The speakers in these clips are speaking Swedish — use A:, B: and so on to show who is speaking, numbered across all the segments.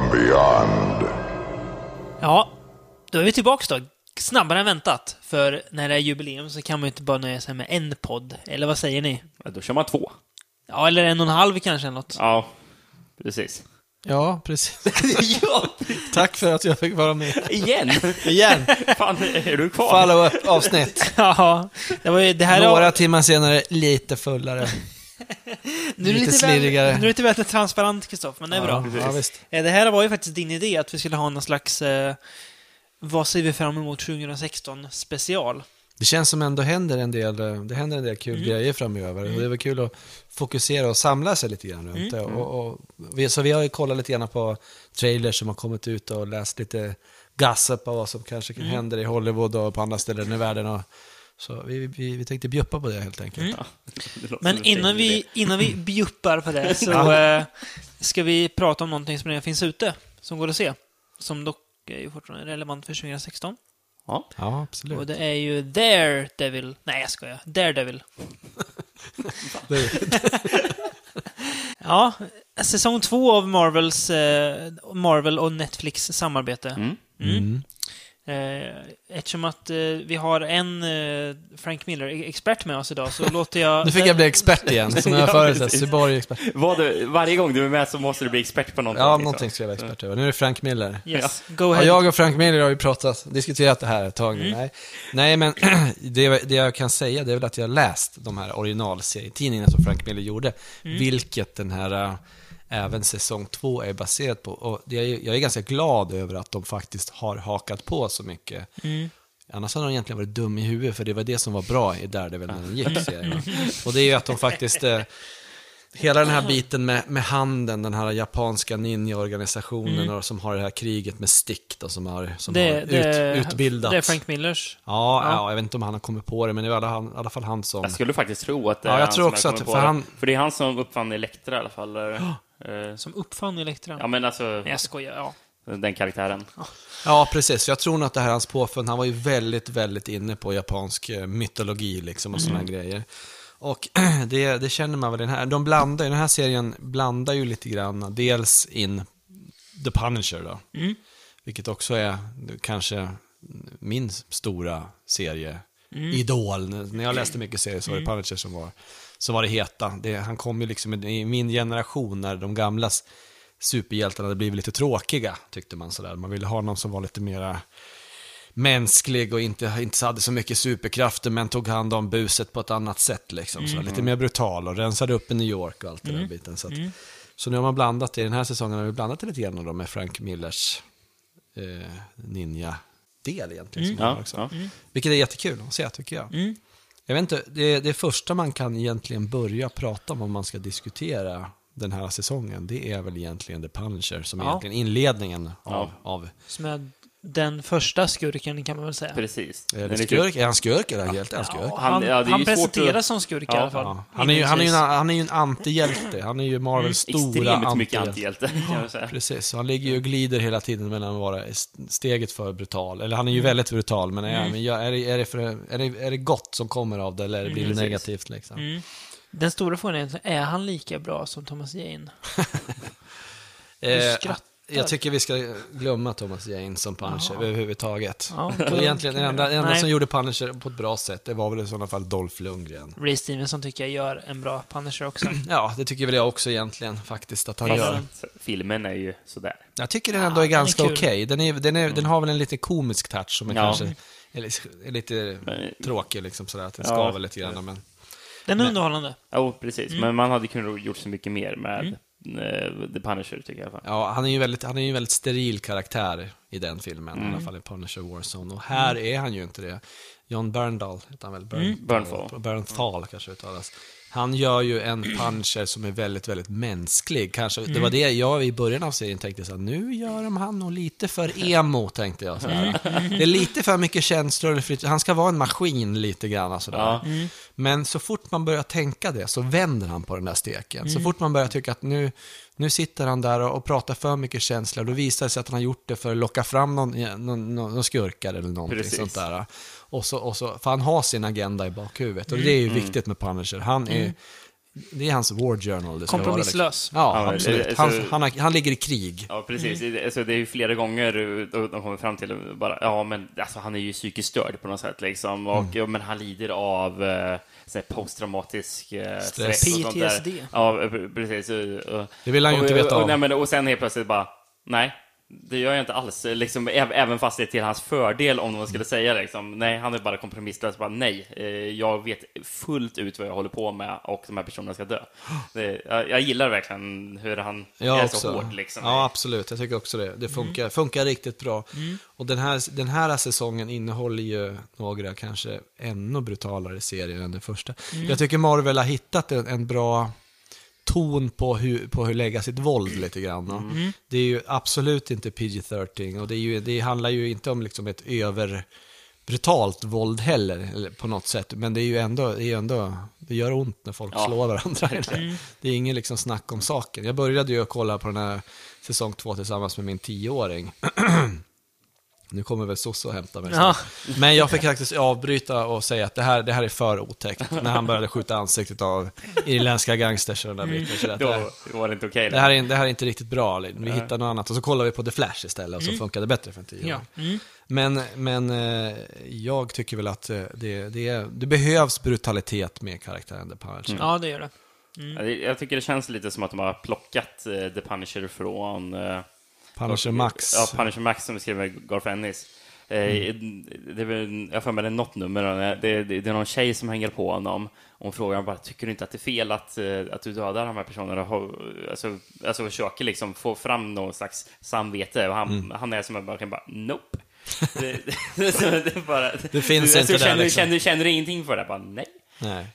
A: beyond.
B: Ja, då är vi tillbaks då. Snabbare än väntat. För när det är jubileum så kan man ju inte bara nöja sig med en podd. Eller vad säger ni?
C: Ja, Då kör man två.
B: Ja, eller en och en halv kanske, eller något.
C: Ja, precis.
D: Ja, precis.
B: ja,
D: Tack för att jag fick vara med.
C: Igen!
D: Igen,
C: Fan, är du kvar?
D: follow-up avsnitt.
B: ja. Det, var ju, det här
D: Några
B: är...
D: timmar senare, lite fullare.
B: Nu är det
D: lite
B: väl-
D: slirrigare.
B: Nu är det lite väl transparent, Kristoffer, men det är bra.
D: Ja, ja, visst.
B: Eh, Det här var ju faktiskt din idé, att vi skulle ha någon slags eh, Vad ser vi fram emot 2016 special?
D: Det känns som ändå händer en del, eh, det händer en del kul
B: Mm.
D: grejer framöver. Och det är väl kul att fokusera och samla sig lite grann
B: Mm.
D: runt det. Och, och, vi, så vi har ju kollat lite grann på trailers som har kommit ut och läst lite gossip av vad som kanske
B: Mm.
D: kan händer i Hollywood och på andra ställen i världen. Och, så vi, vi, vi tänkte bjuppa på det helt enkelt.
B: Mm.
C: Det låter som
B: Men
C: en fin
B: innan vi,
C: idé.
B: innan vi bjuppar på det så eh, ska vi prata om någonting som redan finns ute, som går att se. Som dock är ju fortfarande relevant för 2016.
C: Ja.
D: Ja,
B: Och
D: absolut.
B: det är ju Daredevil. Nej, jag skojar. Daredevil. Ja, säsong två av Marvels, eh, Marvel och Netflix samarbete.
C: Mm.
B: Mm. Eh, eftersom att eh, vi har en eh, Frank Miller-expert med oss idag så låter jag...
D: Nu fick jag bli expert igen, som jag
C: Ja,
D: förut sa.
C: precis.
D: Cyborg-expert.
C: Vad du, varje gång du är med så måste du bli expert på någonting.
D: Ja,
C: liksom.
D: någonting ska jag vara expert över. Nu är det Frank Miller.
B: Yes, go
D: Ja,
B: ahead.
D: jag och Frank Miller har ju pratat, diskuterat det här ett tag
C: Mm.
D: nu. Nej. Nej, men det, det jag kan säga det är väl att jag har läst de här originalserietidningarna som Frank Miller gjorde,
C: Mm.
D: vilket den här, äh, även säsong två är baserad på. Och det är, ju- jag är ganska glad över att de faktiskt har hakat på så mycket.
C: Mm.
D: Annars hade de egentligen varit dum i huvudet, för det var det som var bra i Daredevil när den gick, serien. va? Och det är ju att de faktiskt... eh, Hela den här biten med, med handen, den här japanska ninjaorganisationen
B: Mm.
D: och som har det här kriget med stick då, som har, som har ut, utbildat.
B: Det är Frank Millers.
D: ja, ja. jag vet inte om han har kommit på det, men det var i alla, han- i alla fall han som...
C: Jag skulle faktiskt tro att det
D: Ja,
C: är
D: jag
C: han
D: tror
C: som
D: också
C: har kommit
D: att-
C: på
D: för
C: det.
D: han-
C: För det är han som uppfann Elektra i alla fall. eller? Eh,
B: Som uppfann Elektra.
C: Ja, men alltså,
B: Nej, jag skojar. Ja.
C: den karaktären.
D: Ja, precis. Så Jag tror nog att det här är hans påfund. Han var ju väldigt, väldigt inne på japansk eh, mytologi liksom och sådana grejer. Och det, det känner man väl i den här. De blandar, ju- den här serien blandar ju lite grann dels in The Punisher då. Vilket också är kanske min stora serie, idol. När jag läste mycket serier så var det Punisher som var, som var det heta. Det, han kom ju liksom i i min generation när de gamlas superhjältarna hade blivit lite tråkiga, tyckte man sådär. Man ville ha någon som var lite mera mänsklig och inte, inte hade så mycket superkrafter men tog hand om buset på ett annat sätt. Liksom, så, lite
C: Mm.
D: mer brutal och rensade upp i New York och allt det där biten. Så, att, så nu har man blandat det, i den här säsongen har vi blandat det lite grann då med Frank Millers eh, ninja-del egentligen. Som han har
C: Mm. Ja,
D: också.
C: ja. Mm.
D: Vilket är jättekul att se tycker jag. Jag vet inte, det, det första man kan egentligen börja prata om om man ska diskutera den här säsongen, det är väl egentligen The Punisher som är
B: Ja.
D: egentligen inledningen av,
C: Ja.
D: av
B: Som är den första skurken kan man väl säga.
C: Precis.
D: är
C: Den
D: Eh, det
C: är typ-
D: skurk? Är han skurk eller helt? Är han skurk?
B: Ja,
C: Han-
B: han
C: ja, det är
B: han
C: ju svårt att-
B: presenteras som skurk i
C: Ja,
B: alla fall.
D: Ja. Han, är ju, han, är ju en, han är ju en antihjälte. Han är ju Marvels stora
C: Mm, Extremt mycket
D: antihjälte.
C: antihjälte, kan jag säga.
D: Precis, så han ligger ju och glider hela tiden mellan att vara steget för brutal, eller han är ju väldigt brutal, men, är, men gör- är, det, är, det för, är, det, är det gott som kommer av det eller blir det
C: Precis.
D: negativt liksom?
B: Den stora frågan är, är han lika bra som Thomas Jane?
D: Eh,
B: skrattar.
D: jag tycker vi ska glömma Thomas Jane som Punisher överhuvudtaget.
B: Ja,
D: Och egentligen, den enda, den enda
B: Nej.
D: som gjorde Punisher på ett bra sätt, det var väl i sådana fall Dolph Lundgren.
B: Ray Stevenson tycker jag gör en bra Punisher också.
D: Ja, det tycker väl jag också egentligen faktiskt att han
B: Fast-
D: gör.
C: Så Filmen är ju sådär.
D: Jag tycker den ändå är
B: den är
D: ganska
B: kul.
D: okej. Den, är, den, är, den har väl en lite komisk touch som är
C: Ja.
D: kanske är, li- är lite
C: Men-
D: tråkig, liksom sådär, att den
C: Ja.
D: skaver lite grann. Men,
B: Den är underhållande.
C: Ja, oh, precis. Men man hade kunnat gjort så mycket mer med eh, The Punisher, tycker jag. i alla fall.
D: ja, han är ju väldigt, han är ju en väldigt steril karaktär i den filmen,
C: Mm.
D: i alla fall i Punisher Warzone. Och här är han ju inte det. John Berndahl heter han väl? Bern,
C: Mm. Bernthal.
D: Bernthal kanske uttalas. Han gör ju en puncher som är väldigt, väldigt mänsklig. Kanske, Det var det jag i början av serien tänkte, så här, nu gör de han nog lite för emo, tänkte jag. Så här. Det är lite för mycket känslor, för han ska vara en maskin lite grann. Så där.
C: Ja.
D: Men så fort man börjar tänka det så vänder han på den där steken. Så fort man börjar tycka att nu, nu sitter han där och, och pratar för mycket känslor, då visar det sig att han har gjort det för att locka fram någon, någon, någon, någon skurkar eller någonting
C: Precis.
D: sånt där.
C: Mm.
D: Och så, och så, för han har sin agenda i bakhuvudet och det är ju viktigt med Punisher. Han är det är hans war journal. Det ska Vara,
B: Kompromisslös.
D: liksom. Ja,
C: Ja, det-
D: absolut.
C: det-
D: Han,
C: så-
D: han, har, han ligger i krig.
C: Ja, precis. Det-
D: Mm.
C: Alltså, det är ju flera gånger eh, de de kommer fram till bara, ja, men alltså, han är ju psykiskt störd på något sätt, liksom.
D: Mm.
C: Och, ja, men han lider av eh, sån här posttraumatisk eh,
D: Stress.
C: stress. och sånt där.
B: PTSD.
C: Ja, eh, pre- precis. Eh, och-
D: Det vill han ju
C: och,
D: inte veta
C: och,
D: om.
C: och, nej, men, och sen helt plötsligt bara, nej, det gör jag inte alls. Liksom, äv- även fast det är till hans fördel, om någon skulle säga liksom, nej, han är bara kompromisslös. Bara, nej, eh, jag vet fullt ut vad jag håller på med och de här personerna ska dö. Det, jag, jag gillar verkligen hur han
D: Ja,
C: är
D: också.
C: så hård. Liksom, Mm.
D: ja, absolut. Jag tycker också det. Det funkar, funkar riktigt bra. Och den här, den här säsongen innehåller ju några kanske ännu brutalare serier än den första.
C: Mm.
D: Jag tycker Marvel har hittat en, en bra ton på hur, på hur lägga sitt våld lite grann.
C: Mm.
D: va? Det är ju absolut inte PG-13 och det, är ju, det handlar ju inte om liksom ett över brutalt våld heller eller på något sätt. Men det är ju ändå, det, är ju ändå, det gör ont när folk
C: Ja.
D: slår varandra.
B: Mm.
D: Det är ingen liksom snack om saken. Jag började ju kolla på den här säsong två tillsammans med min tioåring. Nu kommer väl Sosso och hämta mig.
B: Ja.
D: snart. Men jag fick faktiskt avbryta och säga att det här, det här är för otäckt. När han började skjuta ansiktet av irländska gangsters och den
B: Mm.
D: där biten. Så att det, här,
C: Då var det inte okej.
D: det, här är, det här är inte riktigt bra, Lin. vi hittar något annat. Och så kollar vi på The Flash istället och så funkar det bättre för en tioåring.
B: Mm. Ja. Mm.
D: Men, men eh, jag tycker väl att eh, det, det, det behövs brutalitet med karaktären The Punisher.
B: ja, det gör det.
C: Ja, det- Jag tycker det känns lite som att de har plockat eh, The Punisher från... eh,
D: Punisher Max. Mm.
C: Ja, Punisher Max som vi skrev med Garth Ennis. Eh, Det är väl, jag har för mig det är något nummer, eh, det, det, det är någon tjej som hänger på honom. Och hon frågar bara, tycker du inte att det är fel att, eh, att du dödar de här personerna? Och har- Alltså, alltså försöker liksom få fram någon slags samvete. Och han,
D: Mm.
C: han är som en verkligen bara, nope. det, det, så det, är bara,
D: Det finns
C: du,
D: inte där,
C: känner,
D: liksom.
C: känner, känner du ingenting för det? Bara, nej.
D: Nej.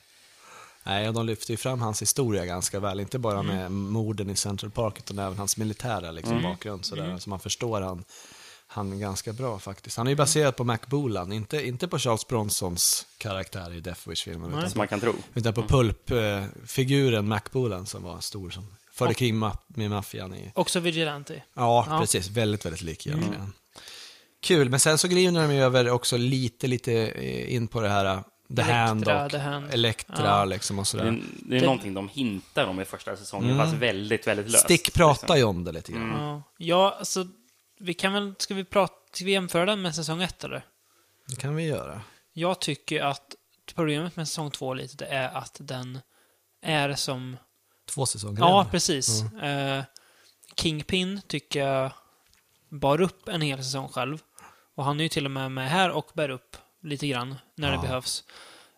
D: Nej, och de lyfter ju fram hans historia ganska väl. Inte bara med morden i Central Park, utan även hans militära liksom, bakgrund. Sådär. Så man förstår han, han ganska bra faktiskt. Han är ju baserad på Mac Bolan, inte, inte på Charles Bronsons karaktär i Death Wish-filmen. Utan,
C: Som man kan tro.
D: utan på Pulp-figuren Mac Bolan som var stor, som förde krig ma- med maffian i
B: Också Vigilante.
D: Ja,
B: Ja.
D: precis. Väldigt, väldigt lik egentligen. Kul, men sen så glider de ju över också lite, lite eh, in på det här eh, The
B: Elektra,
D: Hand och
B: The Hand.
D: Elektra
B: Ja.
D: liksom och
C: Det,
D: sådär.
C: är- det är
B: Det-
C: någonting de hintar om i första säsongen, fast väldigt, väldigt löst. liksom.
D: Stick pratar ju om det lite
C: Mm.
D: grann.
B: Ja. ja, alltså, vi kan väl, ska vi prata, ska vi jämföra den med säsong ett eller?
D: Det kan vi göra.
B: Jag tycker att problemet med säsong två lite det är att den är som...
D: Två säsonger
B: Ja,
D: in.
B: precis. Eh, Kingpin tycker jag bar upp en hel säsong själv. Och han är ju till och med med här och bär upp lite grann när
D: Ja.
B: det behövs.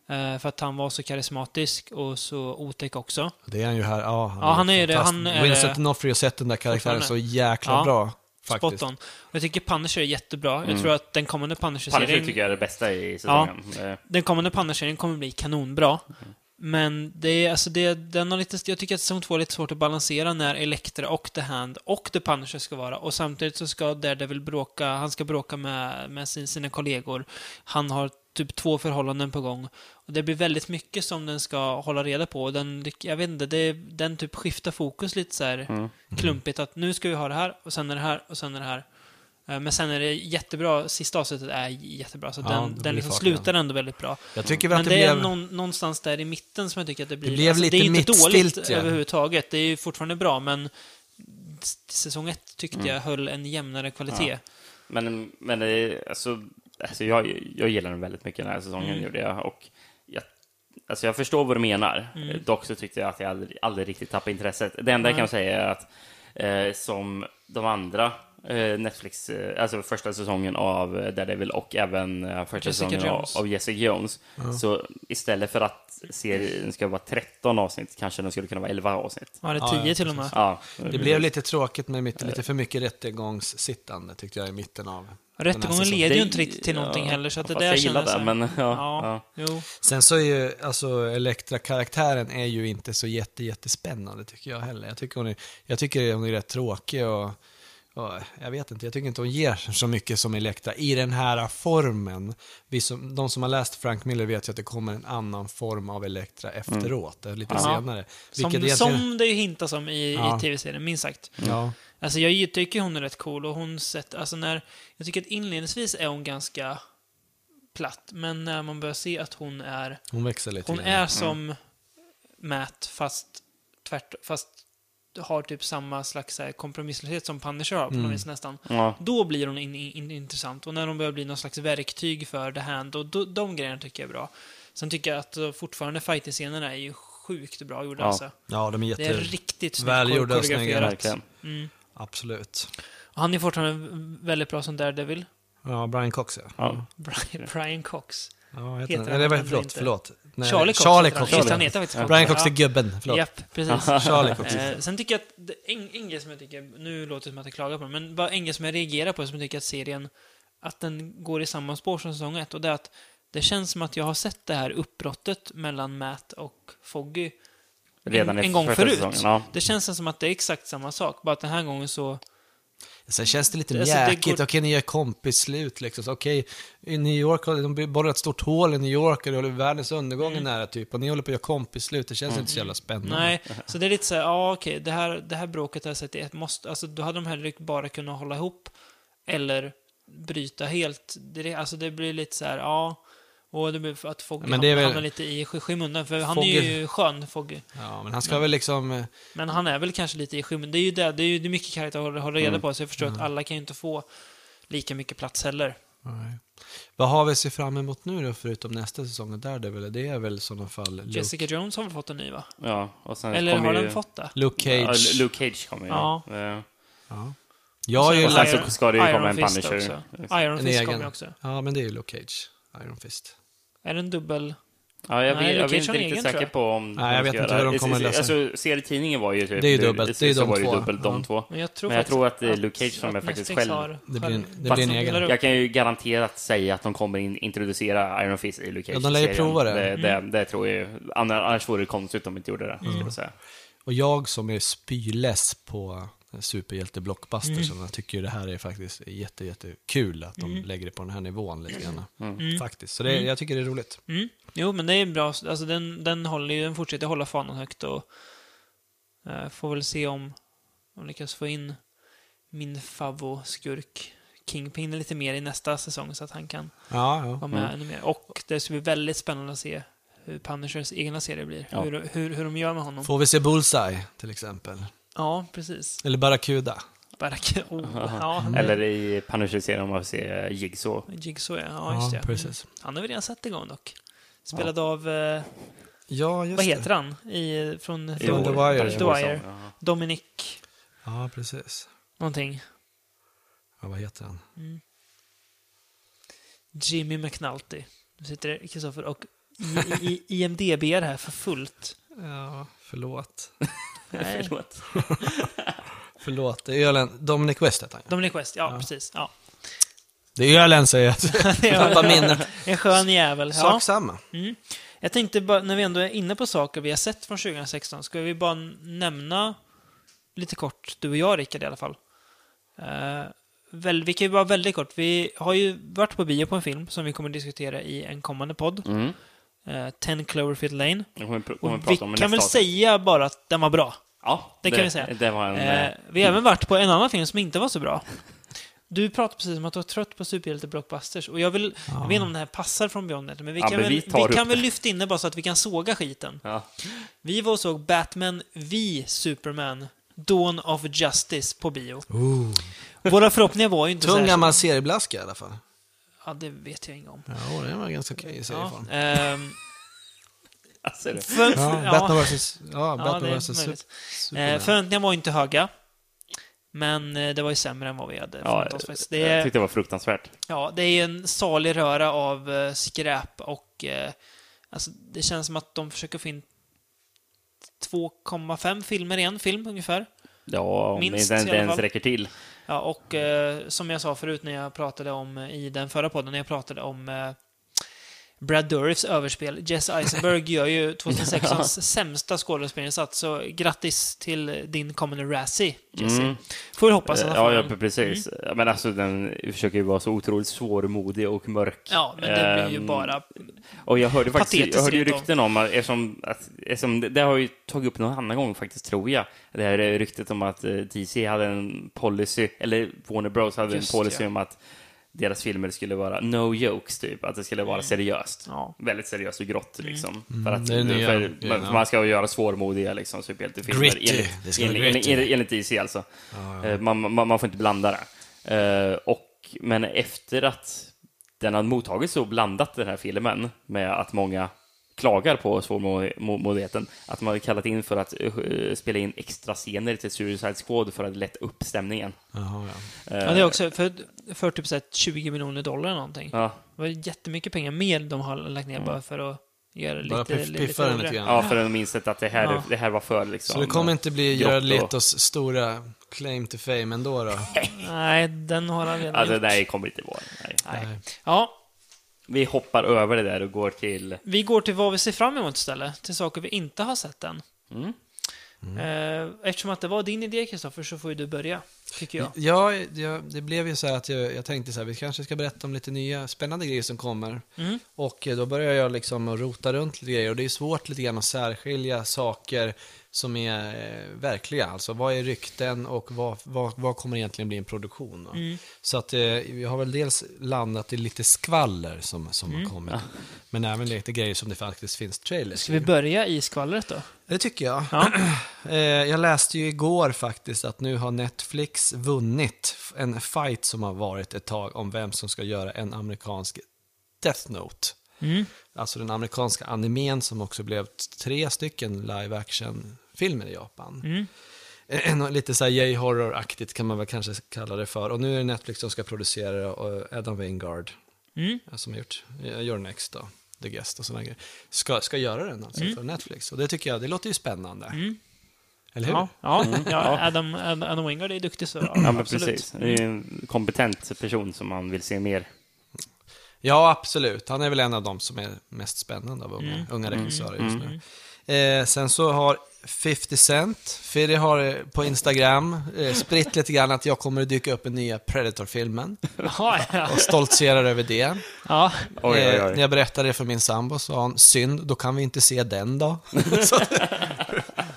B: Eh, för att han var så karismatisk och så otäck också.
D: Det är han ju här. Ja, han
B: Ja, han är ju det.
D: fantast-
B: Han är-
D: Vincent D'Onofrio har sett den där karaktären så
B: Fortfarande.
D: jäkla
B: Ja.
D: bra. Faktiskt. Mm.
B: Spot on. Och jag tycker Punisher är jättebra. Jag tror att den kommande
C: Punisher
B: Punisher-serien
C: tycker jag är det bästa i säsongen. Eh,
B: den kommande Punisher-serien kommer bli kanonbra. Men det är, alltså det, den har lite, jag tycker att säsong två är lite svårt att balansera när Elektra och The Hand och The Punisher ska vara. Och samtidigt så ska Daredevil bråka, han ska bråka med, med sin, sina kollegor. Han har typ två förhållanden på gång. Och det blir väldigt mycket som den ska hålla reda på. Och Den, jag vet inte, det, den typ skiftar fokus lite så
D: Mm.
B: här klumpigt. Att nu ska vi ha det här, och sen är det här, och sen är det här. Eh, Men sen är det jättebra, sista avsnittet är jättebra. Så
D: Ja, det
B: den,
D: blir
B: den liksom
D: fart
B: slutar ändå väldigt bra.
D: Jag tycker väl
B: Men
D: att
B: det,
D: det,
B: är
D: blev...
B: någon, någonstans där i mitten som jag tycker att det blir... alltså,
D: blev
B: det är
D: lite
B: ju inte dåligt
D: mittstiltje.
B: överhuvudtaget. Det är ju fortfarande bra, men s- säsong ett tyckte
C: Mm.
B: jag höll en jämnare kvalitet.
C: Men, men eh, alltså, alltså jag, jag gillar den väldigt mycket den här säsongen,
B: Mm.
C: gjorde jag. Och jag, alltså jag förstår vad du menar.
B: Mm.
C: Eh, Dock så tyckte jag att jag aldrig, aldrig riktigt tappade intresset. Det enda jag kan säga är att eh, som de andra eh, Netflix, eh, alltså första säsongen av eh, Daredevil och även eh, första
B: Jessica
C: säsongen av,
B: Jones.
C: av Jessica Jones. Så istället för att serien ska vara 13 avsnitt kanske den skulle kunna vara 11 avsnitt.
B: Ja, det
D: Ja,
B: är
D: ja,
B: tio till och med.
C: Ja,
D: Det blev lite tråkigt med mitt, lite för mycket rättegångssittande tyckte jag i mitten av den här
B: Rättegången
D: säsongen.
B: leder ju
C: alltså, Det-
B: inte riktigt till någonting
C: ja,
B: heller, så att det
C: fast
B: där
C: jag gillar
B: kändes...
C: det, men ja, ja.
B: Ja, jo.
D: Sen så är ju, alltså Elektra-karaktären är ju inte så jätte, jättespännande tycker jag heller. Jag tycker hon är, jag tycker hon är rätt tråkig och, och jag vet inte, jag tycker inte hon ger så mycket som Elektra i den här formen. Vi som, de som har läst Frank Miller vet ju att det kommer en annan form av Elektra efteråt, eh, lite
B: Mm. Ja.
D: senare.
B: Som,
D: Vilket egentligen-
B: som det ju hintas om i,
D: Ja.
B: i tv-serien, minst sagt.
D: Ja,
B: Alltså jag tycker hon är rätt cool och hon sett, alltså när, jag tycker att inledningsvis är hon ganska platt, men när man börjar se att hon är
D: hon växer lite.
B: Hon
D: grann.
B: är som Matt fast tvärt, fast har typ samma slags så här kompromisslöshet som Punisher har på
D: Mm.
B: något vis nästan.
C: Ja.
B: Då blir hon in, in, in, intressant. Och när hon börjar bli någon slags verktyg för The Hand, och då, de grejerna tycker jag är bra. Sen tycker jag att eh, fortfarande fighter-scenerna är ju sjukt bra gjorda
C: Ja.
B: alltså.
D: Ja, de är
B: Det är
D: jätte...
B: riktigt snyggt
D: välgjorda och snygga.
B: koreograferat.
C: Verkligen.
B: Mm.
D: Absolut.
B: Och Han är fortfarande väldigt bra som Daredevil.
D: Ja, Brian Cox ja.
C: Ja.
B: Brian, Brian Cox.
D: ja heter
B: Heter
D: han.
B: han
D: Eller vad-
B: ändå
D: förlåt,
B: inte?
D: förlåt. Nej,
B: Charlie Cox.
D: Charlie
B: heter han.
D: Cox.
B: Just det, han heter faktiskt Cox.
D: Brian Cox är
B: Ja.
D: gubben, förlåt.
B: Japp, precis.
D: Charlie Cox.
B: Eh, sen tycker jag att, det- en, en grej som jag tycker, nu låter det som att jag klagar på det, men bara en grej som jag reagerar på, som jag tycker att serien, att den går i samma spår som säsong ett, och det är att det känns som att jag har sett det här uppbrottet mellan Matt och Foggy
C: Redan
B: en,
C: i
B: en gång
C: första
B: förut.
C: säsongen, ja.
B: Det känns som att det är exakt samma sak, bara att den här gången så...
D: Sen känns det lite
B: Alltså, det
D: mjäkigt.
B: går-
D: Okej, ni gör kompisslut liksom. Så, Okej, i New York, har- de borrar ett stort hål i New York och det håller världens undergång nära typ. Och ni håller på att göra kompisslut. Det känns inte så jävla spännande.
B: Mm. Nej, så det är lite så här, ja okej, det, här, det här bråket har jag sett i ett måste, alltså då hade de hellre bara kunnat hålla ihop eller bryta helt. Det, är- alltså det blir lite så här, ja, och det blir att Foggy
D: Men det är
B: hamnar,
D: väl-
B: hamnar lite i sk- skymundan, för han är
D: Foggy-
B: ju skön, Foggy.
D: Ja, men han ska väl liksom... eh,
B: Men han är väl kanske lite i skymundan. Det är ju det, det är ju det är mycket karaktär att hålla- hålla
D: Mm.
B: reda på, så jag förstår att alla kan ju inte få lika mycket plats heller.
D: nej. Vad har vi att se fram emot nu då, förutom nästa säsong? Och där det, är väl, det är väl i sådana fall Luke,
B: Jessica Jones har väl fått en ny, va?
C: ja. Och sen
B: Eller
C: kommer
B: har
C: ju...
B: den fått det?
D: Luke Cage.
C: Ja, Luke Cage kommer ju.
B: Ja.
C: Eh,
D: Ja. Jag är
B: Och
D: ju...
C: Och sen så
B: Iron-
C: ska det ju komma
B: Iron
C: en
B: Fist
C: Punisher.
B: också. Iron
D: En
B: Fist
D: egen.
B: kommer ju också.
D: Ja, men det är ju Luke Cage. Iron Fist.
B: Är det en dubbel...
C: Ja, jag,
B: Nej,
C: vet,
B: Luke
C: jag är
B: Cage
C: inte
B: har en
C: riktigt
B: egen, tror
C: säker
B: jag.
C: på om...
D: Nej, jag
C: de
D: vet
C: ska
D: inte
C: göra-
D: hur de kommer lösa
C: Alltså, serietidningen var ju typ...
D: Det är ju dubbelt. Det är ju
C: så
D: de
C: var ju
D: två.
C: dubbelt de
D: Ja.
C: två.
B: Men jag tror,
C: Men jag
B: faktiskt
C: tror att det är
B: att-
C: Luke Cage som
B: att
C: är faktiskt
B: Netflix
C: själv.
B: har
D: Det blir en-
B: själv-
D: det
B: fast-
D: blir en egen.
B: delar upp.
C: Jag kan ju garanterat säga att de kommer in, introducera Iron Fist i Luke
D: Ja,
C: Cage.
D: de lär ju
C: serien.
D: prova det.
C: Det, det,
B: Mm.
C: det tror jag ju. Annars, annars vore det konstigt om de inte gjorde det,
D: Mm.
C: skulle jag säga.
D: Och jag som är spyless på superhjälteblockbusters, mm. jag tycker ju det här är faktiskt jätte, jättekul att de lägger det på den här nivån lite grann. Faktiskt. Så det, jag tycker det är roligt.
B: Mm. Jo, men det är bra. Alltså, den, den, håller, ju- den fortsätter hålla fanan högt och eh, får väl se om de lyckas få in min favoskurk Kingpin lite mer i nästa säsong så att han kan
D: Ja, ja.
B: vara
C: Mm.
B: med ännu mer. Och det ska bli väldigt spännande att se hur Punishers egna serie blir.
C: Ja.
B: Hur, hur, hur de gör med honom.
D: Får vi se Bullseye till exempel?
B: Ja, precis.
D: Eller Barracuda?
B: Bara, oh, ja,
D: Mm.
C: Eller i Punisher-serien om man får se Jigsaw.
B: Jigsaw, ja. ja, just det. Mm.
D: precis.
B: Han har vi redan sett igång dock. Spelad av... Eh,
D: Ja, just
B: Vad heter han? I, från
D: Från The Wire.
B: The
D: Från
B: Wire.
C: Ja.
B: Dominic
D: det. Ja, precis.
B: någonting.
D: Ja, vad heter han?
B: Jimmy McNulty. Nu sitter Kristoffer och i, i, i, IMDB är det här för fullt.
D: Ja, förlåt.
B: Nej.
C: Förlåt.
D: förlåt, det är ölen. Dominic West heter han. ja.
B: Dominic West, ja, precis. Ja.
D: Det är ölen säger jag.
B: Det är-
D: Tappar minnet.
B: En skön jävel. Ja.
D: Sak samma.
B: Mm. Jag tänkte bara, när vi ändå är inne på saker vi har sett från 2016, ska vi bara nämna lite kort, du och jag Rickard i alla fall. Eh, väl, vi kan ju bara väldigt kort, vi har ju varit på bio på en film som vi kommer diskutera i en kommande podd.
C: Mm.
B: eh, 10 Cloverfield Lane.
C: Det kommer vi pr-
B: Och
C: kommer vi
B: vi
C: prata om i
B: kan väl
C: nästa avsnitt.
B: säga bara att den var bra.
C: Ja,
B: det kan vi säga.
C: Det var en...
B: Eh,
C: eh,
B: vi har även varit på en annan film som inte var så bra. Du pratade precis om att du var trött på superhjälte-blockbusters. Och jag vill... Jag vet inte om det här passar från Beyond Net, men vi
C: Ja,
B: kan,
C: men
B: väl,
C: vi tar
B: vi
C: upp
B: kan väl
C: det.
B: lyfta in det bara så att vi kan såga skiten.
C: ja.
B: Vi var och såg Batman V Superman, Dawn of Justice, på bio.
D: Ooh.
B: Våra förhoppningar var ju inte så
D: Tung
B: här...
D: gammal serieblaska i alla fall.
B: Ja, det vet jag inget om.
D: Ja, den var ganska okej i
B: Ja,
D: serieform.
B: ehm,
C: Alltså, det-
B: för,
D: Ja,
B: ja.
D: Batman vs. Ja,
B: Ja, det
D: Batman
B: är
D: vs. Super-
B: möjligt. Eh,
D: Superman.
B: förväntningarna var inte höga. Men eh, det var ju sämre än vad vi hade
C: Ja, eh,
B: förväntat oss. faktiskt. Det
C: jag
B: är,
C: tyckte det var fruktansvärt.
B: ja, det är en salig röra av eh, skräp och eh, alltså, det känns som att de försöker få in 2,5 filmer i en film ungefär.
C: Ja, om
B: Minst
C: det
B: i
C: inte
B: alla
C: ens
B: fall.
C: räcker till.
B: Ja, och eh, som jag sa förut när jag pratade om eh, i den förra podden, när jag pratade om eh, Brad Dourifs överspel. Jess Eisenberg gör ju 2016s sämsta skådespelarinsats, så grattis till din kommande Razzie, Jesse.
C: Mm.
B: Får vi hoppas att han Mm. får
C: Ja, ja,
B: en-
C: precis. Men alltså, den försöker ju vara så otroligt svårmodig och mörk.
B: Ja, men det blir ju
C: Ehm,
B: bara...
C: Och jag hörde faktiskt
B: Patetiskt
C: jag hörde ju
B: rent av.
C: rykten om, att, eftersom, att, eftersom det, det har ju tagit upp någon annan gång faktiskt, tror jag. Det här eh, ryktet om att eh, DC hade en policy, eller Warner Bros hade
B: Just
C: en policy
B: ja.
C: om att deras filmer skulle vara no jokes, typ. Att det skulle vara seriöst.
B: Mm. Ja. Mm.
C: Väldigt seriöst och grått, liksom. För att
D: Mm. det är nya
C: för,
D: grejen,
C: man-
D: ja.
C: för man ska ju göra svårmodiga liksom, superhjältefilmer.
D: Gritty. Det
C: Enligt,
D: ska vara
C: enligt, enligt,
D: gritty.
C: enligt, enligt IC, alltså. Eh, Man, man, man får inte blanda det. Eh, och, men efter att den har mottagits så blandat, den här filmen, med att många klagar på svårmodigheten, att man har kallat in för att eh, spela in extra scener till Suicide Squad för att lätta upp stämningen.
D: Jaha, ja.
B: Ja, det är också för, för typ så här 20 miljoner dollar eller någonting.
C: Ja,
B: Det var jättemycket pengar mer de har lagt ner bara för att göra det
D: Bara
B: lite...
D: piff- piffa den
B: roligare.
D: lite grann.
C: ja för de insett att det här,
B: Ja.
C: det här var för liksom...
D: Så det kommer inte bli
C: grått
D: Jared
C: och-
D: Letos stora claim to fame ändå då?
B: Nej, den har han redan
C: Alltså,
B: gjort.
C: nej, det kommer inte vara. Nej.
B: Nej. Ja,
C: Vi hoppar över det där och går till...
B: Vi går till vad vi ser fram emot istället, till saker vi inte har sett än.
C: Mm.
D: Mm.
B: Eh, Eftersom att det var din idé, Kristoffer, så får ju du börja, tycker jag.
D: Ja, ja, det blev ju så här att jag, jag tänkte så här, vi kanske ska berätta om lite nya spännande grejer som kommer.
B: Mm.
D: Och eh, då började jag liksom att rota runt lite grejer och det är svårt lite grann att särskilja saker som är eh, verkliga. Alltså vad är rykten och vad, vad, vad kommer egentligen bli en produktion? Då?
B: Mm.
D: Så att eh, jag har väl dels landat i lite skvaller som, som har kommit. Men även lite grejer som det faktiskt finns trailers
B: Mm. Ska vi börja i skvallret då?
D: Det tycker jag.
B: Ja.
D: Eh, Jag läste ju igår faktiskt att nu har Netflix vunnit en fight som har varit ett tag om vem som ska göra en amerikansk Death Note. Alltså den amerikanska animen som också blev t- tre stycken live action-filmer i Japan.
B: Mm.
D: Eh, nå- Lite så här J-horror-aktigt kan man väl kanske kalla det för. Och nu är det Netflix som ska producera det och Adam Wingard,
B: Mm.
D: eh, som har gjort eh, Your Next då, The Guest och sådana grejer, ska, ska göra den alltså
B: Mm.
D: för Netflix. Och det tycker jag, det låter ju spännande. Eller hur?
B: Ja, ja, ja Adam, Adam Adam Wingard är duktig så.
C: Mm. Ja, men precis. Det är ju en kompetent person som man vill se mer.
D: Ja, absolut. Han är väl en av de som är mest spännande av unga,
C: Mm.
D: unga regissörer just nu. Eh, sen så har 50 Cent, Firi har eh, på Instagram eh, spritt lite grann att jag kommer att dyka upp i nya Predator-filmen
B: Jaha, ja.
D: och stoltserar över det.
B: ja.
C: Oj, oj,
D: Eh, när
C: oj.
D: jag berättade det för min sambo sa han, synd, då kan vi inte se den då. så, att-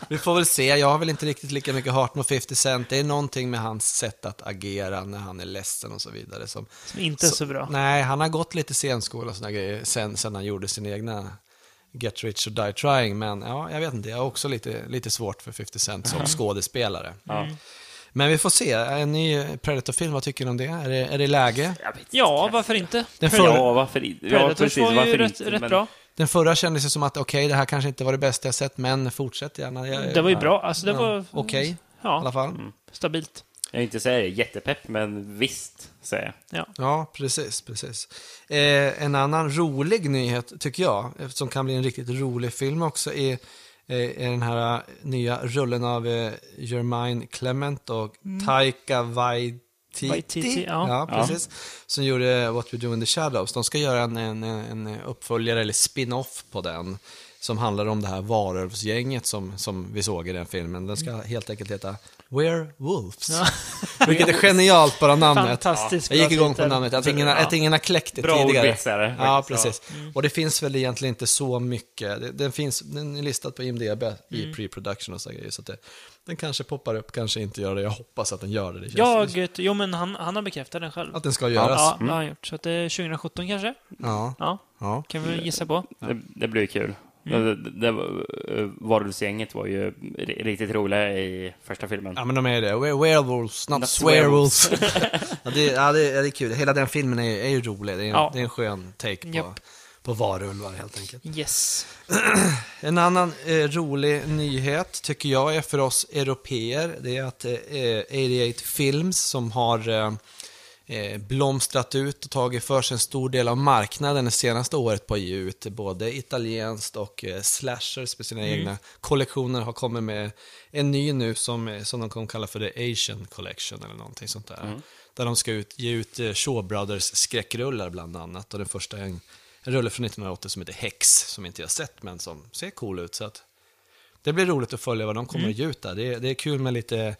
D: vi får väl se, jag har väl inte riktigt lika mycket heart mot 50 Cent. Det är någonting med hans sätt att agera när han är ledsen och så vidare som
B: Som inte är så bra.
D: Nej, han har gått lite scenskola och såna grejer sen, sen han gjorde sina egna Get Rich or Die Trying. Men ja, jag vet inte, jag har också lite, lite svårt för 50 Cent som
B: Mhm.
D: skådespelare.
B: Mm.
D: Men vi får se, en ny Predator-film, vad tycker ni om det? Är det, är det läge?
C: Jag vet inte.
B: Ja, varför inte?
C: Ja,
D: Den, förra,
C: varför inte? Ja,
B: Predators
C: precis.
B: var ju
C: Varför
B: rätt,
C: inte?
B: rätt
C: Men-
B: bra.
D: den förra kändes ju som att okej, det här kanske inte var det bästa jag sett, men fortsätt gärna. Jag,
B: Det var ju bra. Alltså, det
D: ja,
B: var...
D: Okej, i alla
B: Ja,
D: fall.
B: stabilt.
C: Jag vill inte säga det. jättepepp, men visst, säger jag.
B: Ja.
D: Ja, precis. precis. Eh, en annan rolig nyhet, tycker jag, eh, som kan bli en riktigt rolig film också, är, eh, är den här eh, nya rullen av eh, Jermaine Clement och Taika Waititi.
B: Mm. Waititi, ja.
D: precis. Som gjorde What We Do In The Shadows. De ska göra en, en, en uppföljare, eller spin-off på den, som handlar om det här varulvsgänget som, som vi såg i den filmen. Den ska helt enkelt heta Werewolves.
B: Mm. Ja.
D: Vilket är genialt, bara namnet.
B: Fantastiskt
D: Jag gick
B: bra
D: igång på
B: titel.
D: namnet, att ingen,
B: Ja. Mm.
D: att ingen har kläckt det
C: Bra
D: tidigare.
C: ordvits är det,
D: Ja,
C: faktiskt.
D: precis. Och det finns väl egentligen inte så mycket. Det- Den, finns, den är listad på IMDB i
B: Mm.
D: pre-production och så grejer. Så att det, den kanske poppar upp, kanske inte gör det. Jag hoppas att den gör det. det känns som
B: Jag... Jo, men han, han har bekräftat den själv.
D: Att den ska
B: Ja,
D: göras. Ja.
C: Mm.
B: det har han gjort. Så att det är 2017 kanske?
D: ja.
B: Ja, kan vi gissa på.
C: Det, det blir kul.
B: Mm.
C: Det, det, det, eh, Varulvsgänget var ju ri- riktigt roliga i första filmen.
D: Ja, men de är det. We're werewolves, not,
C: Not
D: swearwolves. ja, det, ja, det, ja, det är kul. Hela den filmen är, är ju rolig. Det är, en-
B: Ja.
D: det är en skön take på,
B: Japp.
D: på varulvar helt enkelt.
B: Yes.
D: En annan eh, rolig nyhet tycker jag är för oss européer. Det är att eh, 88 Films som har eh, eh, blomstrat ut och tagit för sig en stor del av marknaden det senaste året på att ge ut både italienskt och eh, slashers med sina egna kollektioner har kommit med en ny nu som, eh, som de kommer kalla för The Asian Collection eller någonting sånt där. Där de ska ut, ge ut eh, Shaw Brothers skräckrullar bland annat och den första är en, en rulle från 1980 som heter Hex som inte jag sett men som ser cool ut. Så att det blir roligt att följa vad de kommer att ge ut där. Det är, det är kul med lite